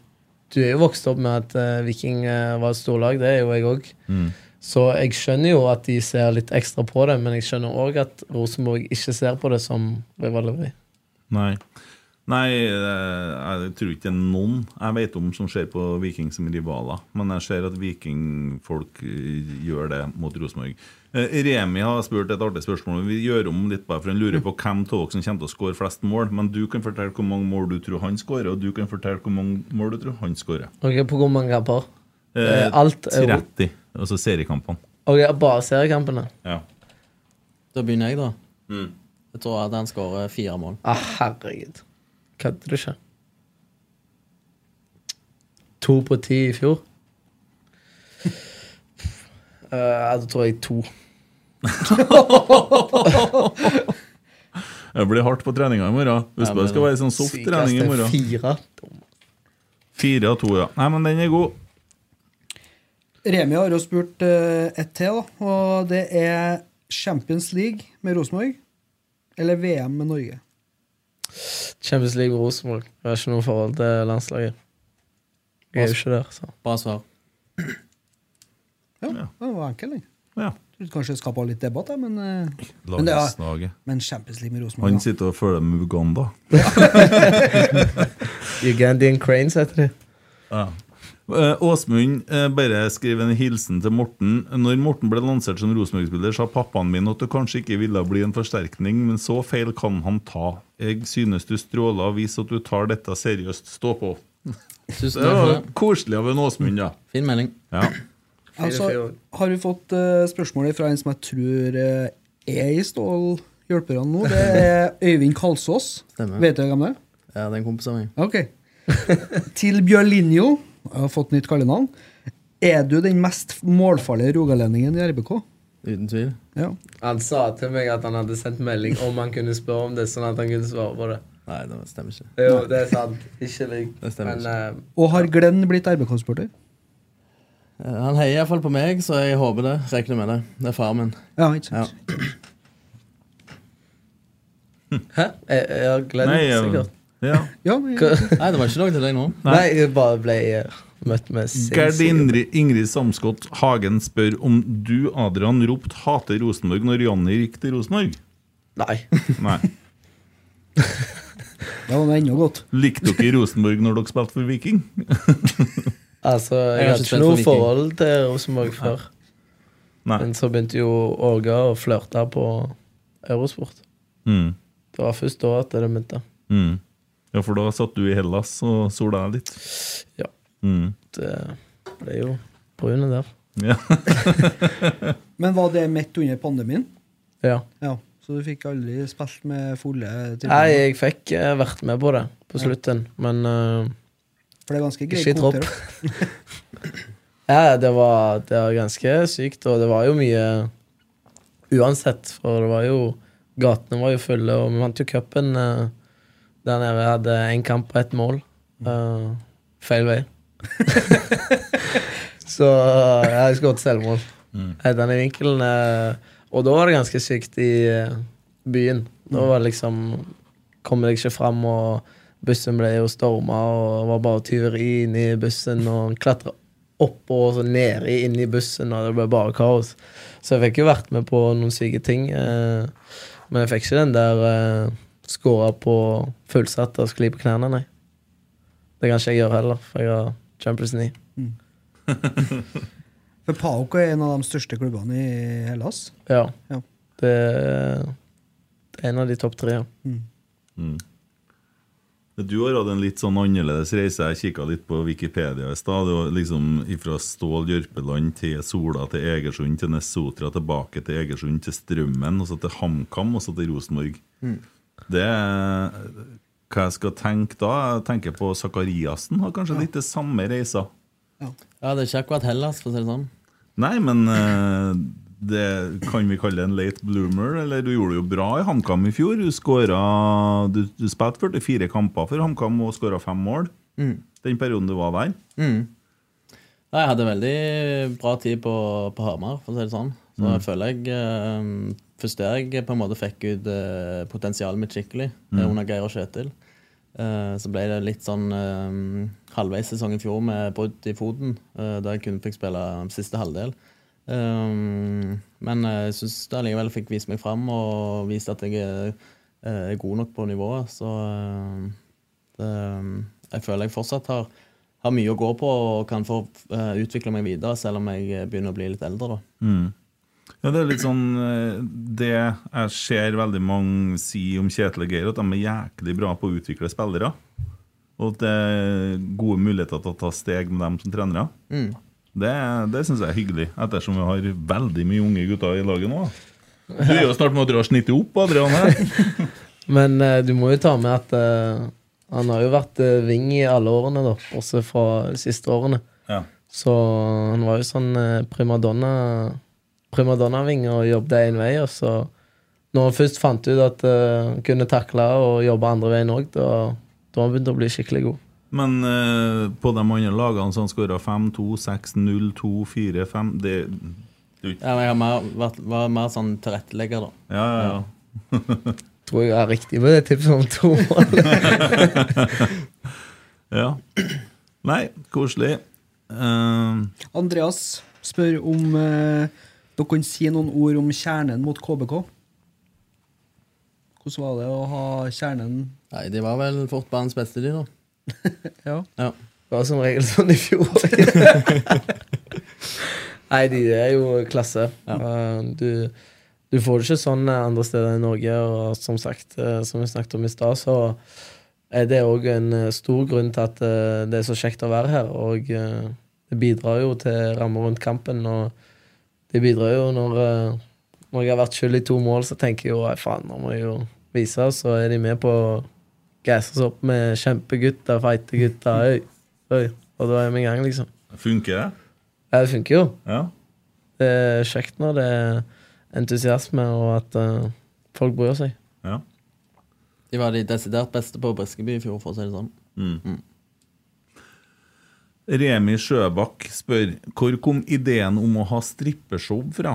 du er jo vokst opp med at eh, Viking eh, var et storlag, det er jo jeg òg.
Mm.
Så jeg skjønner jo at de ser litt ekstra på det, men jeg skjønner òg at Rosenborg ikke ser på det som rivaleri.
Nei. Nei, eh, jeg tror ikke det er noen jeg vet om som ser på Viking som rivaler. Men jeg ser at vikingfolk eh, gjør det mot Rosenborg. Eh, Remi har spurt et artig spørsmål. Vi gjør om litt bare for han lurer på hvem av dere som kommer til å skåre flest mål. Men du kan fortelle hvor mange mål du tror han skårer, og du kan fortelle hvor mange mål du tror han skårer.
Ok, På hvor mange kamper?
Eh,
Eh, alt er jo-
30, altså seriekampene.
Ok, Bare seriekampene?
Ja.
Da begynner jeg, da.
Mm.
Jeg tror at han skårer fire mål.
Ah, herregud. Kødder du ikke? To på ti i fjor? Eh, ja, da tror jeg to.
Det blir hardt på treninga i morgen. Hvis
Ja,
det
men-
skal være sånn soft trening i
Sykeste
morgen.
Fire.
Fire av to, ja. Nei, men den er god.
Remi har jo spurt eh, ett til, da, og det er Champions League med Rosenborg eller VM med Norge.
Champions League med Rosenborg. Jeg har ikke noe forhold til landslaget. Jeg er jo ikke der, så.
Bra svar.
Ja,
Ja.
det var enkelt, den.
Ja.
Trodde kanskje det skapa litt debatt, jeg, men, eh, men, det er,
Landslaget.
men Champions League med
Han
Rosenborg da.
sitter og følger med Uganda.
Ugandian Cranes heter de.
Ja. Eh, Åsmund eh, bare skriver en hilsen til Morten. Når Morten ble lansert som Rosenborg-spiller, sa pappaen min at det kanskje ikke ville bli en forsterkning, men så feil kan han ta. Jeg synes du stråler og viser at du tar dette seriøst. Stå på.
Tusen
Det
takk for
var
det.
koselig av en Åsmund, da.
Fin melding.
Ja.
Altså, har vi fått eh, spørsmål fra en som jeg tror eh, er i Stål hjelperne nå? Det er Øyvind Kalsås.
Stemmer.
Vet dere hvem det er?
Ja, det er en kompis av meg.
Ok. Til Bjørlinjo. Jeg har fått nytt kallenavn. Er du den mest målfarlige rogalendingen i RBK?
Uten tvil.
Ja.
Han sa til meg at han hadde sendt melding om han kunne spørre om det, sånn at han kunne svare på det.
Nei, det stemmer ikke.
Jo, det er sant. Ikke lik.
Det stemmer
Men eh,
Og har Glenn blitt RBK-sporter?
Eh, Han heier iallfall på meg, så jeg håper det. Regner med det. Det er faren min.
Ja, ikke
Ja.
sant?
eh, Hæ? Jeg, jeg har glemt
Nei, ja.
sikkert.
ja.
Ja,
Hva?
eh, Nei, det var ikke noe til deg nå.
Nei. jeg bare ble eh, møtt med
Gerd
sinnssyke
Indri, Ingrid Samskott Hagen spør om du, Adrian, ropte 'hater Rosenborg' når Janni gikk til Rosenborg?
Nei.
Nei.
det var noe ennå godt.
Likte dere Rosenborg når dere spilte for Viking?
Altså, jeg,
har ikke
hadde ikke
spilt for
noe
Viking.
forhold til Rosenborg før.
Nei.
Men så begynte jo Åge å flørte på Eurosport.
Mm.
Det var først da at det begynte.
Mm. Ja, for da satt du i Hellas og sola deg litt.
Ja.
Mm.
Det ble jo brune der.
Ja.
Men var det midt under pandemien?
Ja.
Ja. Så du fikk aldri spilt med fulle
Nei,
tilbud?
jeg fikk eh, vært med på det på slutten, men eh,
For det er ganske
Ikke i
greie
tropp.
kvoter. da.
Ja, det var, det var ganske sykt, og det var jo mye uansett. For det var jo Gatene var jo fulle, og vi vant jo cupen eh, der nede. Vi hadde én kamp og ett mål. Eh, feil vei. Så ja, jeg skåret selvmål. Hedda den i vinkelen. eh, og da var det ganske sykt i eh, byen. Da var det liksom Kom deg ikke fram, og bussen ble jo storma, og det var bare tyveri inni bussen, og klatra opp og så nede inni bussen, og det ble bare kaos. Så jeg fikk jo vært med på noen syke ting. eh, men jeg fikk ikke den der eh, skåra på fullsatt og skli på knærne, nei. Det kan ikke jeg gjøre heller, for jeg har Champions League.
For Paok er en av de største klubbene i Hellas.
Ja.
Ja.
Det er en av de topp tre. ja.
Mm. Du har hatt en litt sånn annerledes reise. Jeg kikka litt på Wikipedia i stad. Det var liksom Fra Stål Jørpeland til Sola til Egersund til Nessotra, tilbake til Egersund til Strømmen, og så til HamKam, og så til Rosenborg.
Mm.
Det er hva jeg skal tenke da? Jeg tenker på Sakariassen. Har kanskje litt det samme reisa.
Ja, Det er ikke akkurat Hellas, for å si det sånn.
Nei, men eh, det kan vi kalle en late bloomer. Eller du gjorde det jo bra i HamKam i fjor. Du, skåra- du, du spilte 44 kamper for HamKam og skåra fem mål den perioden du var der.
Nei, Jeg hadde veldig bra tid på, på Hamar, for å si det sånn. Så jeg føler jeg eh, Først der jeg på en måte fikk ut eh, potensialet mitt skikkelig, eh, under Geir og Kjetil. Eh, så ble det litt sånn eh, halvveis sesong i fjor med brudd i foten, eh, der jeg kun fikk spille siste halvdel. Eh, men eh, jeg syns jeg likevel fikk vist meg fram og vist at jeg er, eh, er god nok på nivået, så eh, det, eh, jeg føler jeg fortsatt har, har mye å gå på og kan få eh, utvikle meg videre, selv om jeg eh, begynner å bli litt eldre. Da.
Ja, det er litt sånn eh, Det jeg ser veldig mange si om Kjetil og Geir, at de er jæklig bra på å utvikle spillere. Og at det er gode muligheter til å ta steg med dem som trenere. Det, det syns jeg er hyggelig, ettersom vi har veldig mye unge gutter i laget nå. da. Du er jo snart med å dra snittet opp, Adrian. her.
Men eh, du må jo ta med at eh, han har jo vært eh, wing i alle årene, da, også fra de siste årene.
Ja.
Så han var jo sånn eh, primadonna primadonna-ving og jobbet én vei. Og så når han først fant ut at eh, han kunne takle og jobbe andre veien òg, da, da han begynte han å bli skikkelig god.
Men eh, på de andre lagene som skåra 5-2, 6-0, 2-4-5 Det det er jo ikke
Ja, men jeg har mer, vært, var mer sånn tilrettelegger, da.
Ja, ja, ja.
Tror jeg er riktig med det tipset om to mål.
ja. Nei, koselig. Eh,
Andreas spør om eh, dere kan si noen ord om kjernen mot KBK. Hvordan var det å ha kjernen
Nei, De var vel fort banens beste, de, da.
Ja.
Ja.
Det var som regel sånn i fjor. Nei, de er jo klasse. Eh, Du, du får det ikke sånn eh, andre steder i Norge, og som sagt, eh, som vi snakket om i stad, så er det òg en eh, stor grunn til at eh, det er så kjekt å være her. Og eh, det bidrar jo til rammer rundt kampen, og det bidrar jo når eh, når jeg har vært skyld i to mål, så tenker jeg jo «Nei, faen, nå må jeg jo vise. Så er de med på å gasse oss opp med kjempegutter, feite gutter. Oi, oi. Og da er vi i gang, liksom.
Funker det?
Ja, det funker jo.
Ja.
Det er kjekt når det er entusiasme, og at eh, folk bryr seg.
ja.
De var de desidert beste på Briskeby i fjor, for å si det sånn.
Remi Sjøbakk spør hvor kom ideen om å ha strippeshow fra?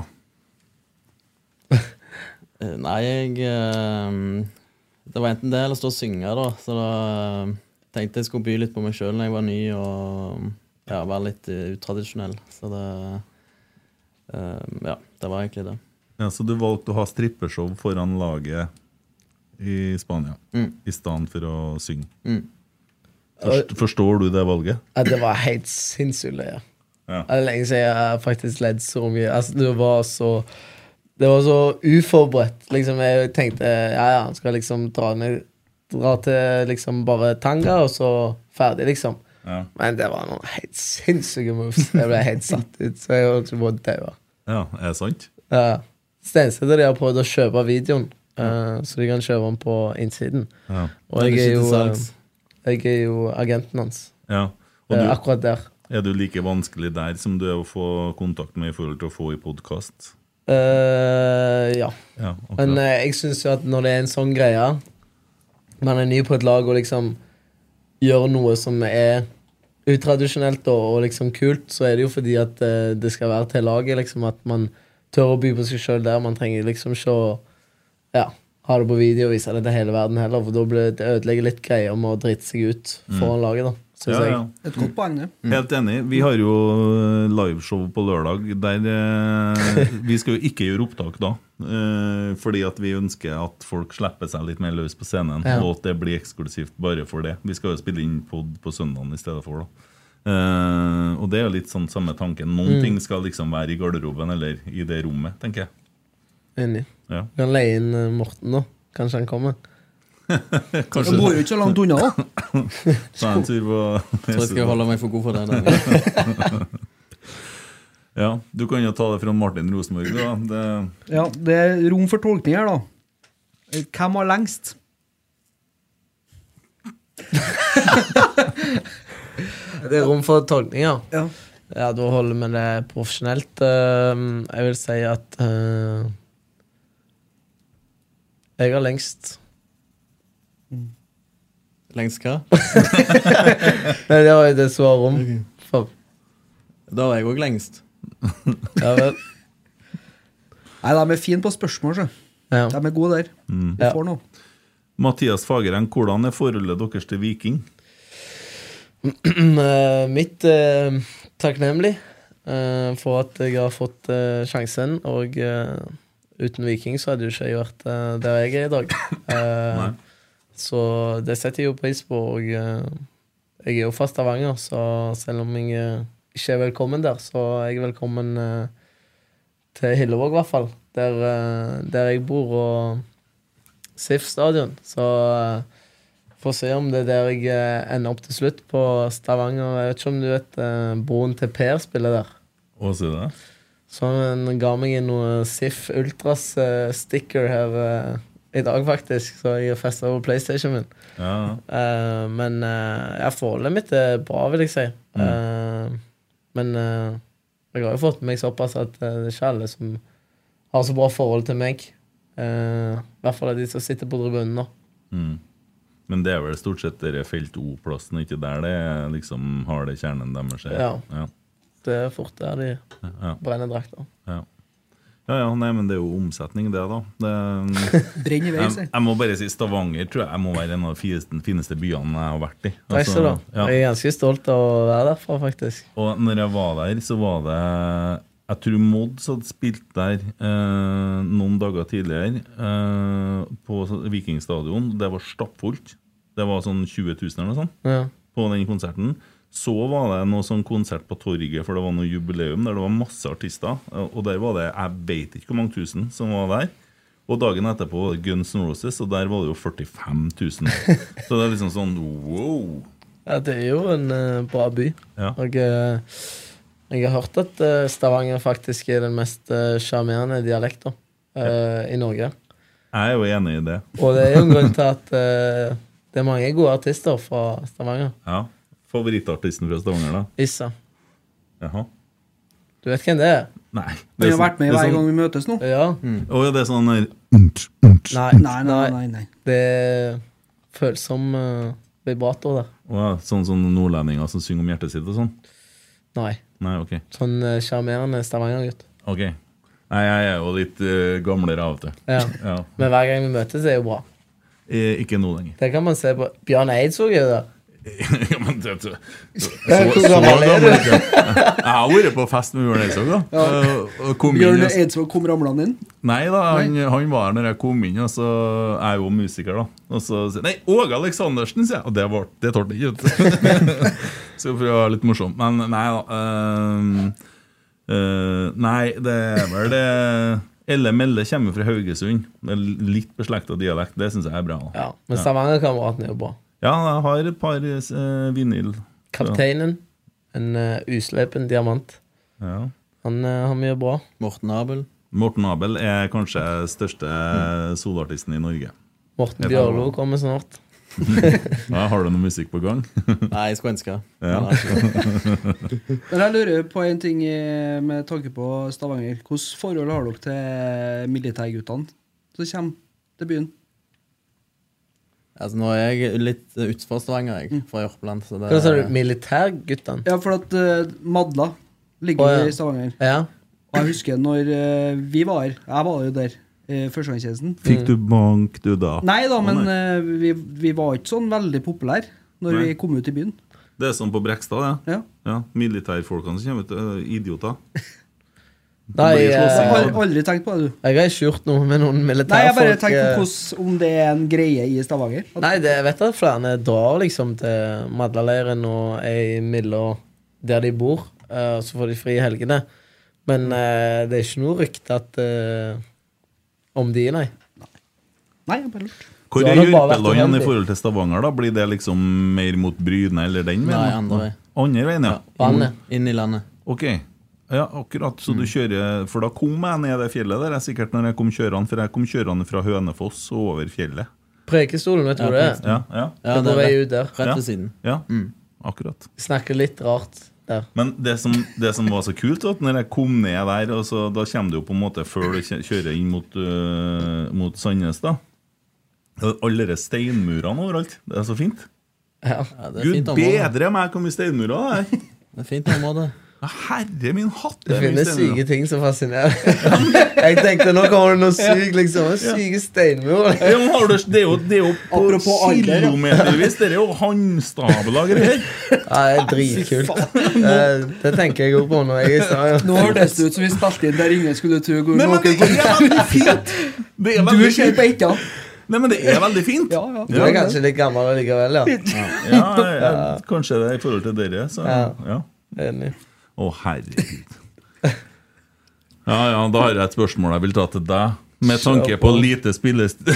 Eh, Nei, jeg eh, Det var enten det eller stå og synge, da. Så da eh, tenkte jeg skulle by litt på meg sjøl når jeg var ny, og ja, være litt eh, utradisjonell. Så det eh, Ja, det var egentlig det.
Ja, så du valgte å ha strippeshow foran laget i Spania
Mm.
i stedet for å synge.
Mm.
Forst, forstår du det valget?
Ja, det var helt sinnssykt løye.
Ja.
Ja. Det er lenge siden jeg har faktisk ledd så mye. Altså, det var så Det var så uforberedt. Liksom, jeg tenkte ja, ja, han skal liksom dra ned Dra til liksom bare tanga, og så ferdig, liksom.
Ja.
Men det var noen helt sinnssyke moves. Jeg ble helt satt ut, så jeg holdt på å daue.
Ja, er det sant?
Ja. Stensted og de har prøvd å kjøpe videoen, eh, så de kan kjøpe den på innsiden.
Ja.
Og
Den er
jeg er
ikke
jo,
til
eh,
salgs.
jeg er jo agenten hans.
ja. Og
Eh,
du,
Akkurat der.
er du like vanskelig der som du er å få kontakt med i forhold til å få i podkast?
Eh, ja.
Ja, akkurat.
Men eh, jeg syns jo at når det er en sånn greie Man er ny på et lag og liksom gjør noe som er utradisjonelt og, og liksom kult, så er det jo fordi at eh, det skal være til laget. liksom At man tør å by på seg sjøl der. Man trenger liksom ikke å ja, ha det på video og vise det til hele verden heller, for da blir det ødelegger litt greia med å drite seg ut foran laget, da, syns
Mm. ja,
jeg.
ja.
Et godt poeng, det.
Helt enig. Vi har jo eh, liveshow på lørdag. Der eh, Vi skal jo ikke gjøre opptak da. Eh, fordi at vi ønsker at folk slipper seg litt mer løs på scenen.
Ja.
Og at det blir eksklusivt bare for det. Vi skal jo spille inn pod på søndagen i stedet for. da Eh, Og det er jo litt sånn samme tanken. Noen ting skal liksom være i garderoben eller i det rommet, tenker jeg.
Enig.
Ja.
Du kan leie inn eh, Morten, da. Kanskje han kommer.
Jeg bor jo ikke så langt unna, da.
Ta en tur
Jeg tror jeg skal
på
holde meg for god for det. denne gangen.
Ja, Du kan jo ta det fra Martin Rosenborg, da. Det
Ja, det er rom for tolkning her, da. Hvem har lengst?
Det er rom for tolkninger.
Ja.
Ja, da holder vi det profesjonelt. Ehm, jeg vil si at eh, Jeg har lengst.
Lengst hva?
Nei, det var jo det som var rom. For,
Da var jeg òg lengst.
ja vel.
Nei, de er fine på spørsmål, så.
Ja.
De er gode der. Vi
Ja.
får noe.
Mathias Fagereng, hvordan er forholdet deres til Viking?
Eh, mitt eh, takknemlig eh, for at jeg har fått eh, sjansen, og eh, uten Viking så hadde jo ikke jeg vært eh, der jeg er i dag. Eh,
Nei.
så det setter jeg jo pris på, og eh, jeg er jo fra Stavanger, så selv om jeg eh, ikke er velkommen der, så er jeg velkommen eh, til Hillevåg, i hvert fall, der, eh, der jeg bor, og SIF stadion. Så eh, Får se om det er der jeg eh, ender opp til slutt, på Stavanger. Jeg vet ikke om du vet eh, broren til Per spiller der.
Å, si det?
Så han ga meg en noe SIF Ultras-sticker her eh, i dag, faktisk. Så jeg har festa over PlayStation min.
Ja.
Eh, men eh, ja, forholdet mitt er bra, vil jeg si.
Mm.
Eh, men eh, jeg har jo fått med meg såpass at eh, det er ikke alle som har så bra forhold til meg. Eh, I hvert fall de som sitter på tribunen nå.
Mm. Men det er vel stort sett dere felt O-plassen, ikke der det er liksom harde kjernen deres er?
Ja.
Ja.
Det er fort der de
Ja.
brenner drakter.
Ja. ja, ja, nei, men det er jo omsetning, det, da. Det,
Brenn i vei,
jeg,
si.
jeg må bare si Stavanger tror jeg må være en av de fineste, fineste byene jeg har vært i. Altså,
Takk skal du ha.
ja.
Jeg er ganske stolt av å være derfra, faktisk.
Og når jeg var der, så var det Jeg tror Mods hadde spilt der eh, noen dager tidligere, eh, på Vikingstadion. Det var stappfullt. Det var sånn 20 000 eller noe sånt
Ja.
på den konserten. Så var det noe sånn konsert på torget, for det var noe jubileum der det var masse artister. Og der var det jeg vet ikke hvor mange tusen som var der. Og dagen etterpå var det Guns N' Roses, og der var det jo 45 000. Så det er liksom sånn wow.
Ja, det er jo en eh, bra by.
Ja.
Og eh, jeg har hørt at eh, Stavanger faktisk er den mest eh, sjarmerende dialekten eh, i Norge.
Jeg er jo enig i det.
Og det er jo en grunn til at eh, det er mange gode artister fra Stavanger.
Ja. Favorittartisten fra Stavanger, da?
Issa.
Jaha.
Du vet hvem det er?
Nei.
Vi har vært
det
med
er
hver
sånn,
gang vi møtes nå.
Ja.
Å ja, det er sånn der unt, unt.
Nei,
Nei, nei, nei. nei.
Det er følsom eh, vibrator der.
Å ja, sånn som nordlendinger som synger om hjertet sitt og sånn?
Nei.
Nei, OK.
Sånn eh, sjarmerende Stavanger-gutt.
Ok. Nei, jeg er jo litt eh, gamlere av og til.
Ja.
Ja.
Men hver gang vi møtes, er jo bra.
Eh, ikke nå lenger.
Det kan man se på. Bjørn Eidsvåg er jo der.
ja, men det, så, så,
Hvor
så
gammel
gammel
er
er du? Jeg har vært på fest med Bjørn Eidsvåg, da. Eh, og kom inn
Bjørn
og s-
Eidsvåg kom ramlende inn.
Nei da, han, han var her når jeg kom inn, og så jeg er jo musiker, da. Og så sier Nei, Åge Aleksandersen, sier jeg! Og det var- det tålte jeg ikke. vet du. så for å være litt morsom. Men nei da. ehm, eh, nei, det er vel det Elle Melle kommer fra Haugesund. Det er litt beslekta dialekt. Det syns jeg er bra. da.
Ja, men Stavanger-kameraten er jo bra.
Ja, jeg har et par eh, vinyl.
Kapteinen. En eh, uslepen diamant.
Ja.
Han eh, har mye bra.
Morten Abel.
Morten Abel er kanskje største soloartisten i Norge.
Morten
Ja,
Bjørlo kommer snart.
Ja, har du noe musikk på gang?
Nei, jeg skulle ønske.
Ja.
Men, altså,
Men jeg lurer på en ting eh, med tanke på Stavanger. Hvilket forhold har dere til militærguttene som kommer til byen?
altså, nå er jeg litt eh, utenfor Stavanger, jeg. Fra Jørpeland. Så det,
Hva sa du? Militærguttene?
Ja, for at eh, Madla ligger
Å, ja.
i Stavanger.
Ja.
Og jeg husker når eh, vi var her Jeg var jo der. Uh, Førstegangstjenesten.
Fikk du bank, du, da?
Nei da,
Å,
men
nei.
eh, vi, vi var ikke sånn veldig populære når
Nei.
vi kom ut i byen.
Det er sånn på Brekstad, det.
Ja.
Ja, Militærfolkene som kommer ut, eh, idioter.
Nei,
blir
eh,
Jeg har
slåssing.
jeg
Ja.
aldri tenkt på det, du.
har ikke gjort noe med noen
Nei, jeg bare
militærfolk.
tenkte
eh.
på hvordan- om det er en greie i Stavanger. At,
Nei, det, jeg vet at flere drar liksom til Madlaleiren og er imellom der de bor. eh, Og så får de fri i helgene. Men eh, det er ikke noe rykte at eh, om de, nei.
nei, jeg bare lurte.
Hvor
Da
er
har det bare vært
Jørpeland i
uheldig.
forhold til Stavanger? da? Blir det liksom mer mot Bryne eller den veien?
Nei, andre vei.
Andre veien, ja.
Vannet.
Inn i landet.
Ok. Ja, akkurat. Så du kjører For da kom jeg ned det fjellet der, jeg sikkert når jeg kom kjørende, for jeg kom kjørende fra Hønefoss og over fjellet.
Preikestolen, vet du
Ja,
hvor det er?
Ja, ja.
Det er på vei ut der.
Rett
Ja.
ved siden.
ja. Akkurat.
Snakker litt rart der.
Men det som, det som var så kult, var at når jeg kom ned der og så, Da kommer du jo på en måte før du kjø- kjører inn mot, øh, mot Sandnes, da. Og Alle de steinmurene overalt. Det er så fint.
Ja.
Ja, det er
Gud
fint område.
bedre meg hvor mye steinmurer det er!
Det er fint område.
Ja, Herre min hatt! er
Det
mye
finnes
steinmurer.
syke ting som fascinerer. Jeg tenkte nå kommer det noe sykt, liksom. Syke steinmur.
Ja, men har du, det er jo, det er jo på
Apropos alder, ja.
kilometervis! Det er jo handstabla greier!
Ja, det er dritkult. Eh, Det tenker jeg òg på når jeg er i Stavanger.
Nå hørtes det ut som vi spilte inn der ingen skulle tro hvor
Nei, men det
noen kom.
er veldig fint! Det er
Du
veldig
ser
fint.
på etter.
Nei, men det er veldig fint.
Ja, ja.
Du er kanskje litt gammel likevel, ja.
Ja, ja, kanskje det er i forhold til dere, så
Ja.
ja.
Enig.
Å, herregud. Ja, ja, da har jeg et spørsmål jeg vil ta til deg. Med tanke på lite spillest...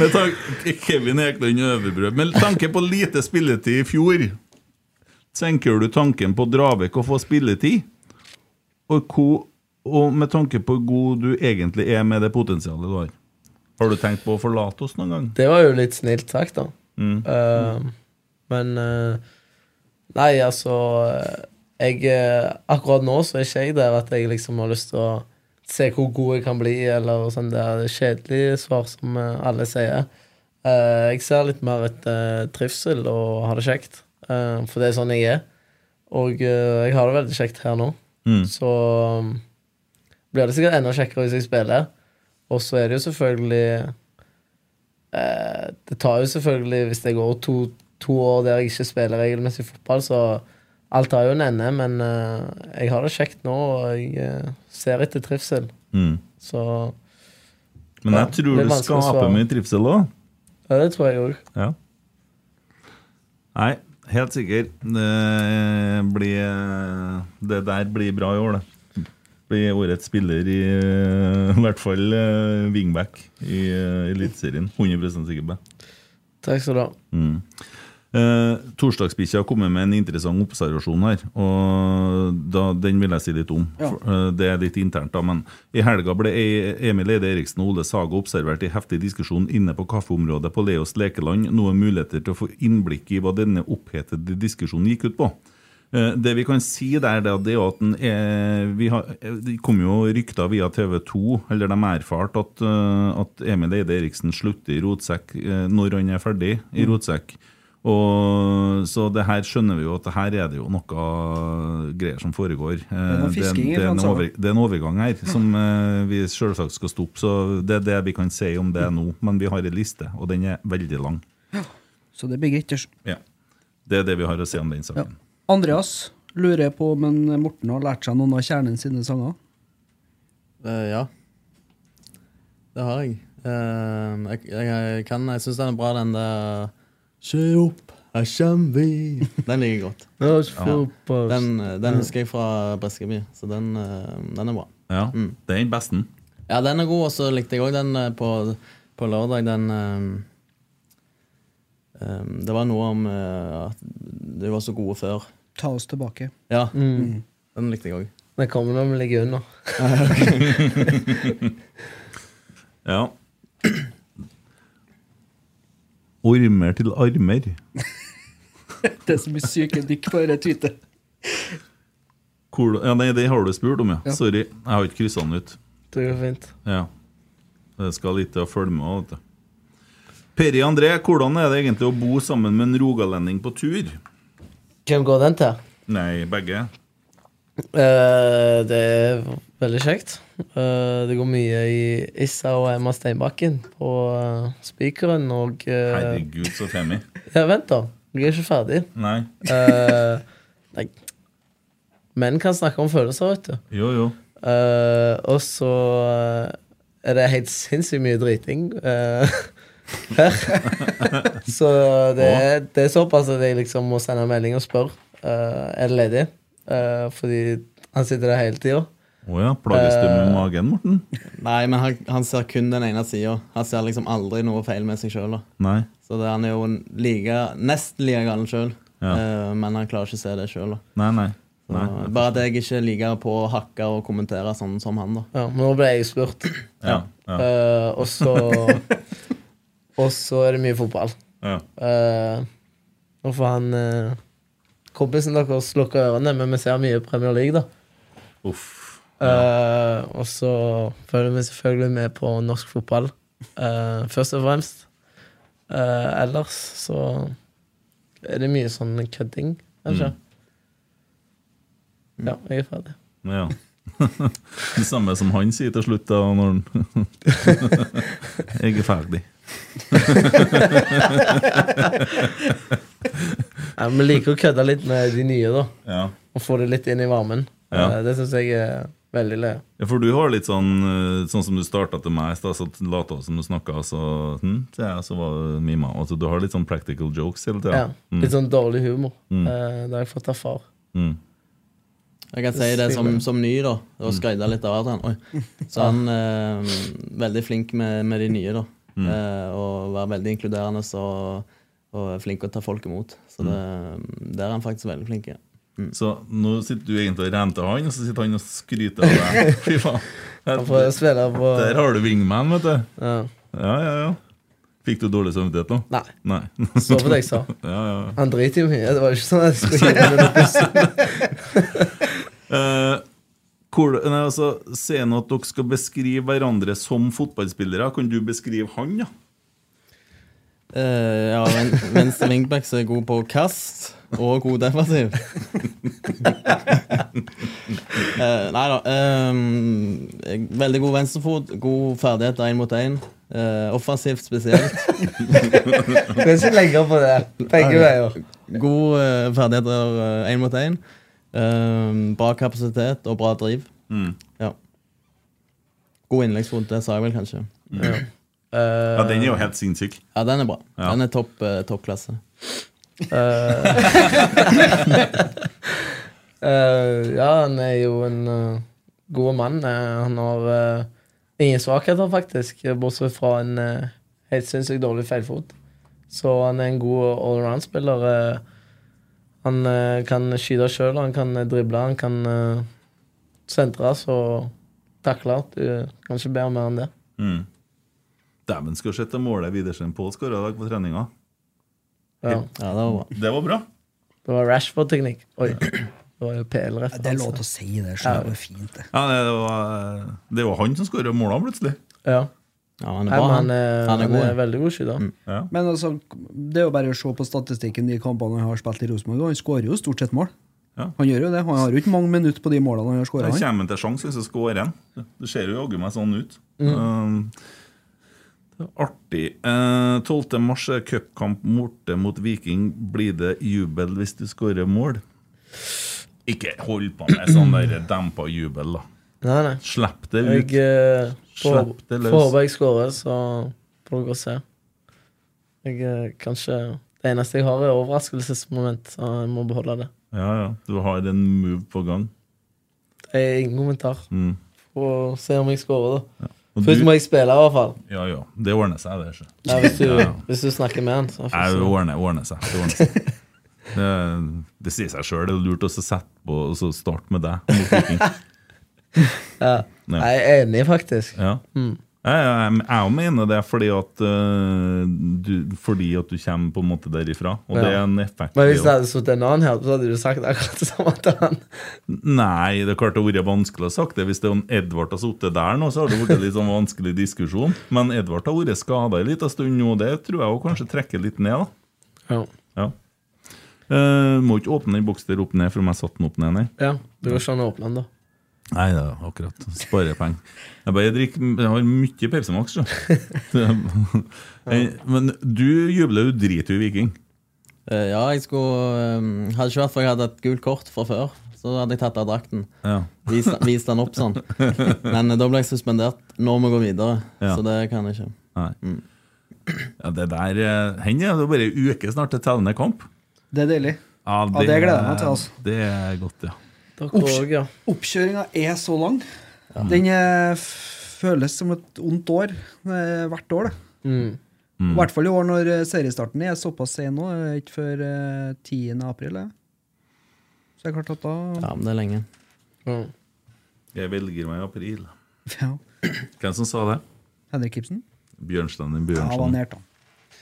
med tanke Kevin Eklund Øverbrød. Med tanke på lite spilletid i fjor, senker du tanken på Dravek å få spilletid? Og, hvor, og med tanke på hvor god du egentlig er med det potensialet du har. Har du tenkt på å forlate oss noen gang?
Det var jo litt snilt sagt, da. Eh, men eh, Nei, altså eh, Jeg eh, Akkurat nå så er ikke jeg der at jeg liksom har lyst til å se hvor god jeg kan bli, eller sånn der kjedelige svar som eh, alle sier. Eh, jeg ser litt mer etter trivsel og har det kjekt, eh, for det er sånn jeg er. Og eh, jeg har det veldig kjekt her nå,
Mm.
så um, blir det sikkert enda kjekkere hvis jeg spiller. Og så er det jo selvfølgelig eh, Det tar jo selvfølgelig, hvis det går to, to år der jeg ikke spiller regelmessig fotball, så alt har jo en ende, men eh, jeg har det kjekt nå, og jeg eh, ser etter trivsel.
Mm.
Så
Men
Ja,
jeg tror
det
du
er vanskelig å
skaper
svare.
mye trivsel òg.
ja, det tror jeg òg.
Ja. Nei, helt sikker. Det, blir, det der blir bra i år, det. Blir årets spiller i eh, i hvert fall eh, wingback i eh, Eliteserien. 100 sikker på det.
Takk skal du ha.
Mm. Eh, Torsdagsbikkja har kommet med en interessant observasjon her, og da, den vil jeg si litt om.
Ja.
For, eh, det er litt internt, da, men i helga ble E- Emil Eide Eriksen og Ole Saga observert i heftig diskusjon inne på kaffeområdet på Leos lekeland, noe muligheter til å få innblikk i hva denne opphetede diskusjonen gikk ut på. Eh, Det vi kan si der, det er det at den er, vi har, eh, det kom jo rykter via TV 2, eller de erfarte at, eh, at Emil Eide Eriksen slutter i Rotsekk eh, når han er ferdig i
Mm.
Rotsekk. Og, så det her skjønner vi jo at det her er det jo noe greier som foregår. Eh,
er noe fisking i
det, er en
Frankrike.
over, det er en overgang her som eh, vi selvsagt skal stoppe, så det er det vi kan si om
Mm.
det nå. Men vi har en liste, og den er veldig lang.
Så det blir greit. det.
Ja. Det er det vi har å si om den saken.
Andreas lurer på om en Morten har lært seg noen av kjernen sine sanger.
Eh, ja. Det har jeg. Eh, jeg, jeg kan Jeg syns den er bra, den der Se opp, her kjem vi. Den liker jeg godt.
Nå er det fotball.
Den, den husker jeg fra Breskeby, så den, eh, den er bra.
Ja,
Mm.
Det er den beste.
Ja, den er god, og så likte jeg òg den eh, på, på lørdag, den eh, eh, Det var noe om eh, at de var så gode før.
Ta oss tilbake.
Ja. Den likte jeg òg.
Den kommer når vi ligger under.
Ja. Ormer til armer.
Det er så mye syke dykk på dette tweetet.
Hvor, ja, nei, det har du spurt om, ja.
Ja.
Sorry, jeg har ikke kryssa den ut.
Det går fint.
Ja. Det skal litt til å følge med. Vet du. Peri André, hvordan er det egentlig å bo sammen med en rogalending på tur?
Hvem går den til?
Nei, begge.
Eh, det er veldig kjekt. Eh, det går mye i Issa og Emma Steinbakken på eh, Spikeren og eh,
Herregud, så femi.
Ja, vent, da. Jeg er ikke ferdig.
Nei.
Eh, nei. Menn kan snakke om følelser, vet du.
Jo, jo.
Eh, og så eh, er det helt sinnssykt mye driting eh, her. så det er, det er såpass at jeg liksom må sende en melding og spørre eh, Er det ledig. Eh, fordi han sitter der hele tida.
Å ja, plages du med magen, Morten?
Nei, men han, han ser kun den ene sida. Han ser liksom aldri noe feil med seg sjøl.
Nei.
Så det, han er jo en like, nesten like gal sjøl,
Ja.
Eh, men han klarer ikke å se det sjøl.
Nei, nei. nei.
Bare at jeg ikke liker på å hakke og kommentere sånn som han. da
Ja, men nå ble jeg spurt.
Ja, ja,
Eh, og så Og så er det mye fotball.
ja.
Eh, nå får han eh, kompisen deres lukke ørene, men vi ser mye Premier League, da.
Uff.
Eh, og så følger vi selvfølgelig med på norsk fotball, eh, først og fremst. Eh, ellers så er det mye sånn kødding, kanskje. Ja, jeg er ferdig.
Ja. Det samme som han sier til slutt, da, når han Jeg er ferdig.
Nei, Vi liker å kødde litt med de nye, da.
Ja.
Og få det litt inn i varmen.
Ja.
Eh, det syns jeg er veldig løye.
Ja, For du har litt sånn eh, Sånn som du starta til meg i stad, så lata du som du snakka, og så hm, så, ja, så var det mima. Altså, du har litt sånn practical jokes hele
Ja.
tida.
Litt sånn dårlig humor. Eh, det har jeg fått av far.
Mm.
Jeg kan si det som, som ny, da, og skryte litt av at han. Oi. Så han er veldig flink med, med de nye, da.
Mm.
Eh, og være veldig inkluderende og, og er flink å ta folk imot. Så det,
Mm.
der er han faktisk veldig flink. Ja.
Så nå sitter du egentlig og renter han, og så sitter han og skryter av deg. Fy faen.
Han får spille på
Der har du wingman, vet du.
ja.
Ja, ja, ja. Fikk du dårlig samvittighet nå?
Nei,
Nei.
så på det jeg sa.
Ja, ja.
Han driter jo mye. Det var jo ikke sånn at jeg skulle gjøre det.
Eh, hvor, nei, altså, Sier han at dere skal beskrive hverandre som fotballspillere? Kan du beskrive han, ja?
Eh, ja, ven, venstre wingback som er god på kast og god defensiv. Eh, nei da. ehm, jeg- veldig god venstrefot, god ferdighet én mot én. eh, offensivt spesielt.
Du kan ikke legge på det. Begge veier.
God eh, ferdigheter én mot én. Ehm, bra kapasitet og bra driv.
Mm.
Ja. God innleggsfot, det sa jeg vel kanskje.
Mm. Ja, Den er jo helt sinnssyk.
Ja, den er bra.
Ja.
Den er topp, eh, toppklasse.
Eh, eh, ja, han er jo en eh, god mann. Eh, han har eh, ingen svakheter, faktisk, bortsett fra en eh, helt sinnssykt dårlig feilfot. Så han er en god allround-spiller. eh. han eh, kan skyte sjøl, han kan eh, drible, han kan eh, sentre, så takle. Du kan ikke be om mer enn det.
Mm. Dæven, skulle sett det målet Widersen Pål skåra i dag på treninga.
Ja.
Ja, det var bra.
Det var bra.
Det var Rashford-teknikk. Oi. Det var jo altså. PL-referanse.
Det er lov til å si det. skjønner du, Det er fint, det.
Ja, det, var, eh, det var han som skåra målene, plutselig.
Ja.
Ja, han er
Nei,
bra, han.
men han er, eh, han er,
god. ja. Mm.
veldig god skyter.
Ja.
Men altså, det er jo bare å se på statistikken de kampene han har spilt i Rosenborg. og Han skårer jo stort sett mål.
Ja.
Han gjør jo det. Han har jo ikke mange minutter på de målene han har
Da
skåra.
kommer han til sjanse hvis han skårer en. Det ser jo jaggu meg sånn ut.
Mm.
Um, det er artig. Eh, 12. mars er cupkamp borte mot Viking. Blir det jubel hvis du skårer mål? Ikke hold på med sånn der dempa jubel, da.
Nei, nei.
Slipp det ut.
Jeg eh, får
Slipp det løs.
får håpe jeg skårer, så får dere se. Jeg eh, kan ikke Det eneste jeg har, er overraskelsesmoment, så jeg må beholde det.
Ja, ja. Du har en move på gang.
Det er ingen kommentar.
Mm.
Få se om jeg skårer, da.
Og
Først
du-
må jeg spille, i hvert fall.
Ja, ja. Det ordner seg, det. Ikke?
Nei, hvis, du,
Ja.
hvis du snakker med han. Så får
Nei,
jeg
det
se.
ordner, ordner seg. Det, ordner seg. det, det sier seg sjøl. Det er lurt å så sette på og så starte med deg. mot Viking.
ja.
Nei.
Jeg er enig, faktisk.
Ja. Jeg, jeg, jeg mener det fordi at, øh, du, fordi at du kommer på en måte derifra. Og det er
Ja.
en effekt.
Men
det
hvis det
også.
hadde sittet en annen her, så hadde du sagt akkurat det samme til han.
Nei, det er klart det hadde vært vanskelig å sagt det. Hvis det er en Edvard har sittet der nå, så har det vært litt sånn vanskelig diskusjon. Men Edvard har vært skada en liten stund nå, og det tror jeg også kanskje trekker litt ned. da.
Ja.
Ja. Eh, må ikke åpne den boksen der opp ned, for om jeg satte den opp ned, nei.
ja. Du går ikke an å åpne den, da.
Nei, det er akkurat. Spare penger. Jeg bare drikker Jeg har mye Pepsi Max, så. Det- Eh, Men du jubler jo drit i Viking.
Eh, Ja, jeg skulle eh, Hadde ikke vært for jeg hadde et gult kort fra før, så hadde jeg tatt av drakten.
Ja.
Vist, vist den opp sånn. Men eh, da ble jeg suspendert. Nå må vi gå videre,
Ja.
så det kan jeg ikke.
Nei.
Mm.
Ja, det der eh, Hen er det bare ei uke snart til tellende kamp.
Det er deilig.
Ja,
Ja, det gleder jeg meg til, altså.
Det er godt, ja.
Dere
Ups.
òg, ja.
Oppkjøringa er så lang. Den eh, f- føles som et ondt år eh, hvert år. det.
Mm.
I hvert fall i år når eh, seriestarten er såpass sen nå. eh, Ikke før eh, 10. april. eh. Så det er klart at da
Ja, men det er lenge.
Ja.
Jeg velger meg i april.
ja.
Hvem som sa det?
Henrik Ibsen?
Bjørnstein din
Ja, han var
Bjørnstein.
nært, da.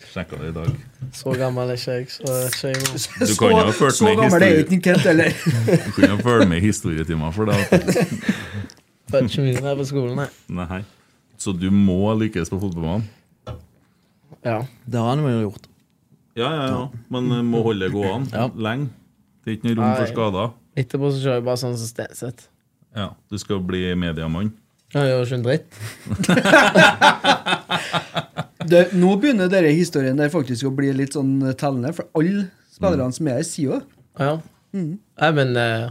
Sjekka det i dag.
Så gammel er ikke jeg, så jeg vet ikke jeg.
Du kan jo ha ført
så
med
gammel er
historie.
ikke Kent heller.
Du kunne jo følge med i historietimer for det.
Følger ikke mye med på skolen, nei.
Nei. Så du må lykkes på fotballbanen?
Ja.
Det har han jo gjort.
Ja, ja, ja. Men eh, må holde det gående
Ja.
lenge. Det er ikke noe rom for
Nei.
skader.
Etterpå så kjører jeg bare sånn som Stenseth.
Ja, Du skal bli mediemann.
Jeg gjør ikke en dritt.
Det, nå begynner denne historien der faktisk å bli litt sånn tellende, for alle
Mm.
spillerne som er her, sier jo det.
Ja.
Mm.
Nei, men eh,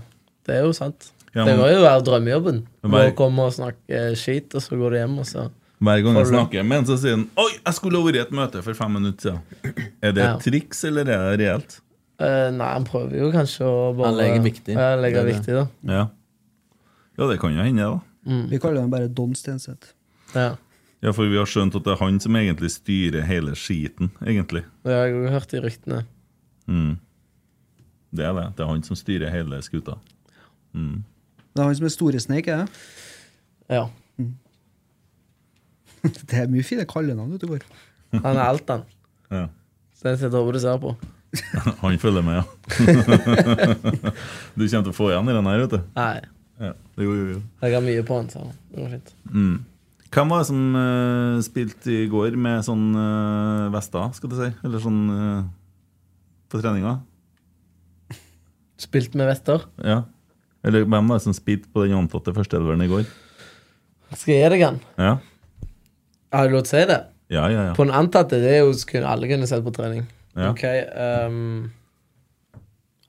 det er jo sant.
Ja,
det
men-
må jo være drømmejobben.
Men
Å
bare-
komme og snakke eh, skit, og så går du hjem, og så
Hver gang jeg
Får du-
snakker med en, så sier han Oi, jeg skulle ha vært i et møte for fem minutter siden. Er det
Ja.
et triks, eller er det reelt?
Eh, Nei, han prøver jo kanskje å bare
Han legger viktig.
Ja, han
Det
legger
er det.
viktig, da.
Ja. ja, det kan jo hende, da.
Vi kaller den bare Don Stenseth.
Ja.
Ja, For vi har skjønt at det er han som egentlig styrer hele skiten, egentlig.
Det har jeg jo hørt i ryktene.
Mm. Det er det. Det er han som styrer hele skuta. Mm.
Det er han som er Storesneik, er det?
Ja.
Det er mye fine kallenavn ute og går.
Han er alt, han.
Ja.
Stenseth håper du ser på.
Han følger med, ja. du kommer til å få igjen i den her, vet du.
Nei.
Ja. Jo, jo, jo.
Jeg har mye på han, så det går fint.
Hvem var det som eh, spilte i går med sånn uh, vester, skal du si? Eller sånn eh, på treninga?
Spilt med Vetter.
Ja. Eller hvem var det som spilte på den antatte førsteelveren i går?
Skal jeg gi deg han?
Ja,
Har du lov til å si det?
ja, ja. ja.
På en antatte det er jo kun alle kunne sett på trening.
Ja.
Ok ehm,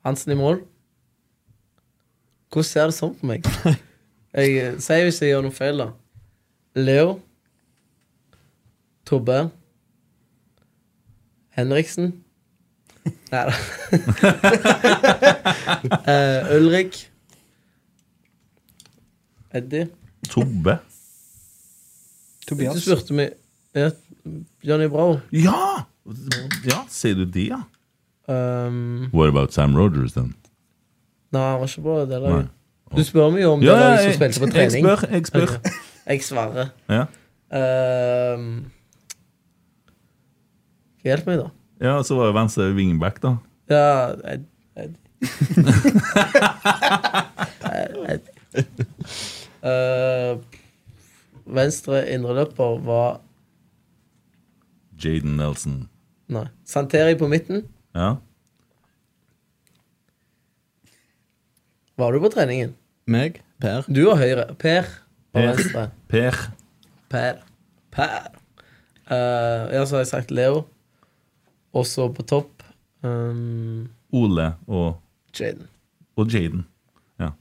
Hansen i mål. Hvordan ser det sånn på meg? Jeg eh, sier hvis jeg gjør noe feil, da. Leo. Tobbe. Henriksen. Nei da. Eh, Ulrik. Eddie.
Tobbe.
Du
Tobias.
spurte meg ja, Johnny Brau.
Ja! Ja, Sier du det, ja?
Um,
What about Sam Rogers, then?
nei, han var ikke på det
Nei.
laget. Du spør meg jo om det
Ja, ja,
laget som
jeg,
spilte på trening.
spør. Jeg spør.
Ok. Jeg svarer.
Ja.
Ehm, hjelp meg, da.
ja, så var jo venstre wingback, da.
Ja Ed, Ed. Ed. Eh, venstre indreløper var
Jaden Nelson.
Nei. Santeri på midten.
Ja.
Var du på treningen?
Meg, Per.
Du var høyre. Per på
Per.
venstre.
Per.
Per. Per. Eh, ja, så har jeg sagt Leo. Og så på topp um,
Ole og,
Jaden.
og Jaden. Ja.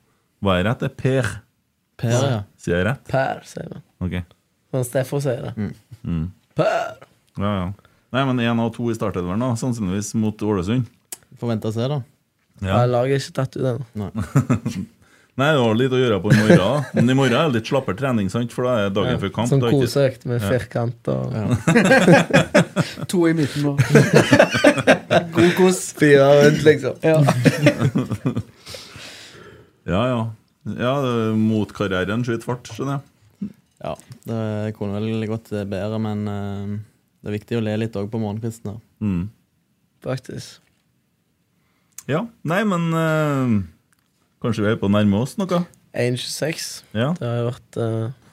Hva er rett? Det er Per.
Per, ja.
Sier jeg rett?
Per, sier vi.
Ok.
Sånn Steffo sier det.
Mm.
Per.
Ja, ja. Nei, men én av to i startelveren, da. Sannsynligvis mot Ålesund.
Får vente og se, da.
Ja.
Ja, Laget er ikke tatt ut ennå.
Nei, det var litt å gjøre på i morgen. da. Men i morgen er det litt slappere trening, sant? for da er dagen før kamp.
Sånn
da er ikke-
koseøkt med firkant og
To i midten nå. God kos.
Fire rundt, liksom.
Ja.
Ja, ja. Ja, det- mot karrieren skyter fart, skjønner jeg.
Ja, Det kunne vel gått eh, bedre, men eh, det er viktig å le litt òg på morgenkvisten. da.
Mm.
Faktisk.
Ja. Nei, men eh, kanskje vi er på å nærme oss noe?
1,26.
Ja.
Det har jo vært eh,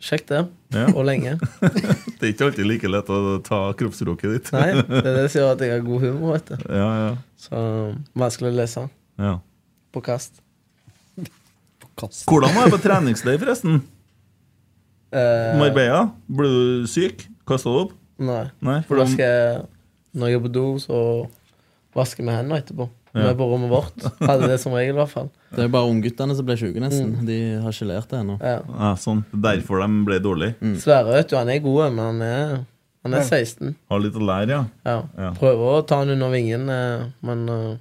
kjekt, det.
Ja.
Og lenge.
Det er ikke alltid like lett å ta kroppsspråket ditt.
Nei, det er det som gjør at jeg har god humor, vet du.
Ja, ja,
Så vanskelig å lese
ja.
på kast.
Kast.
Hvordan var det på treningsleir, forresten?
Eh,
Marbella? Ble du syk? Kasta du opp?
nei.
Nei.
For da skal jeg Når jeg er på do, så vasker vi hendene etterpå. Vi
Ja.
er på rommet vårt. Hadde det som regel, i hvert fall.
Det er jo bare ungguttene som ble sjuke, nesten.
Mm.
De har ikke lært det ennå.
Ja.
ja, sånn. Derfor de ble dårlige.
Sverre, vet du, han er god, men han er, han er 16.
Har litt å lære, ja.
Ja.
Ja.
Prøver å ta han under vingen, eh, men eh,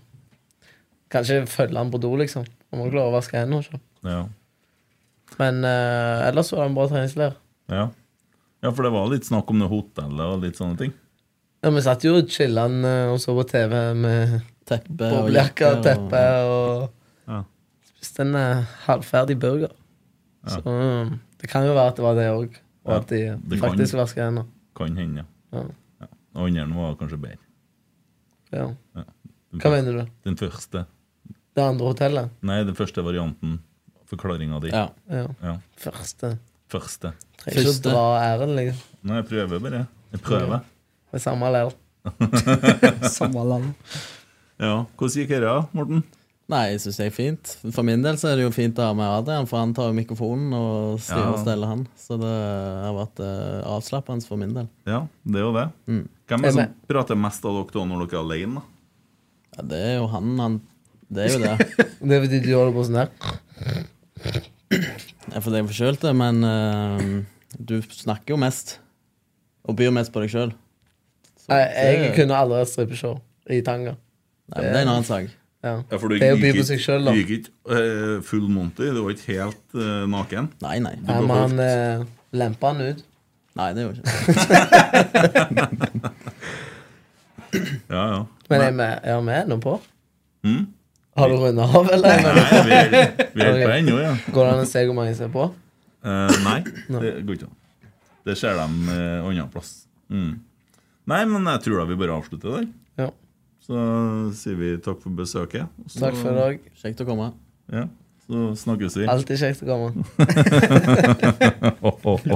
kanskje følge han på do, liksom. Han må klare å vaske hendene. Ikke?
ja.
Men eh, ellers var det en bra treningsleir.
Ja. ja, for det var litt snakk om det hotellet og litt sånne ting.
Ja, vi satt jo og chilla eh, og så på TV med
Teppe Eh, og
boblejakke og
jakke og-
teppe og
Ja.
spiste en eh, halvferdig burger. Så mm, det kan jo være at det var det òg, og
Ja,
at de eh,
det kan.
faktisk vasker hendene.
Kan hende, ja.
Ja.
Og andre var kanskje bedre.
Ja.
Ja.
Hva mener du?
Den første.
Det andre hotellet?
Nei, den første varianten. Forklaringa di.
Ja.
Ja.
Ja.
Første.
Første.
Trenger ikke å
Første.
dra æren, liksom.
Nei, jeg prøver bare. Jeg prøver.
Med samme leir.
Samme land.
Ja. Hvordan gikk dette, Morten?
Nei, jeg syns det er fint. For min del så er det jo fint å ha med Adrian, for han tar jo mikrofonen og styrer
Ja.
og steller, han. Så det har vært eh, avslappende for min del.
Ja, det er jo det.
Mm.
Hvem er det
Jeg
som prater mest av dere da når dere er alene? da?
Ja, det er jo han, han Det er jo det.
Det betyr du holder på sånn her.
Jeg er for det er forkjølt, det, men eh, du snakker jo mest. Og byr mest på deg sjøl.
Jeg, jeg kunne aldri hatt strippeshow i tanga.
Nei, men det er en annen sak.
Ja.
Ja, for du
Det er å by
gikk
på
ikke-
seg selv, da.
Du gikk ikke eh, full monty. Du var ikke helt eh, naken.
Nei, nei.
Ja, men han eh, lempa han ut.
Nei, det er jo ikke det.
Ja, ja.
Men jeg, med- jeg er med nå på.
Mm?
Har du runda av, eller?
Nei, vi er, vi er på
Ok.
ennå, ja.
Går det an å se hvor mange som er på?
Eh, nei, det går ikke an. Det ser de eh, annen plass. Mm. Nei, men jeg tror da vi bare avslutter der.
Ja.
Så sier vi takk for besøket. og Så,
Takk for i dag.
Kjekt å komme.
Ja, så snakkes vi.
Alltid kjekt å komme.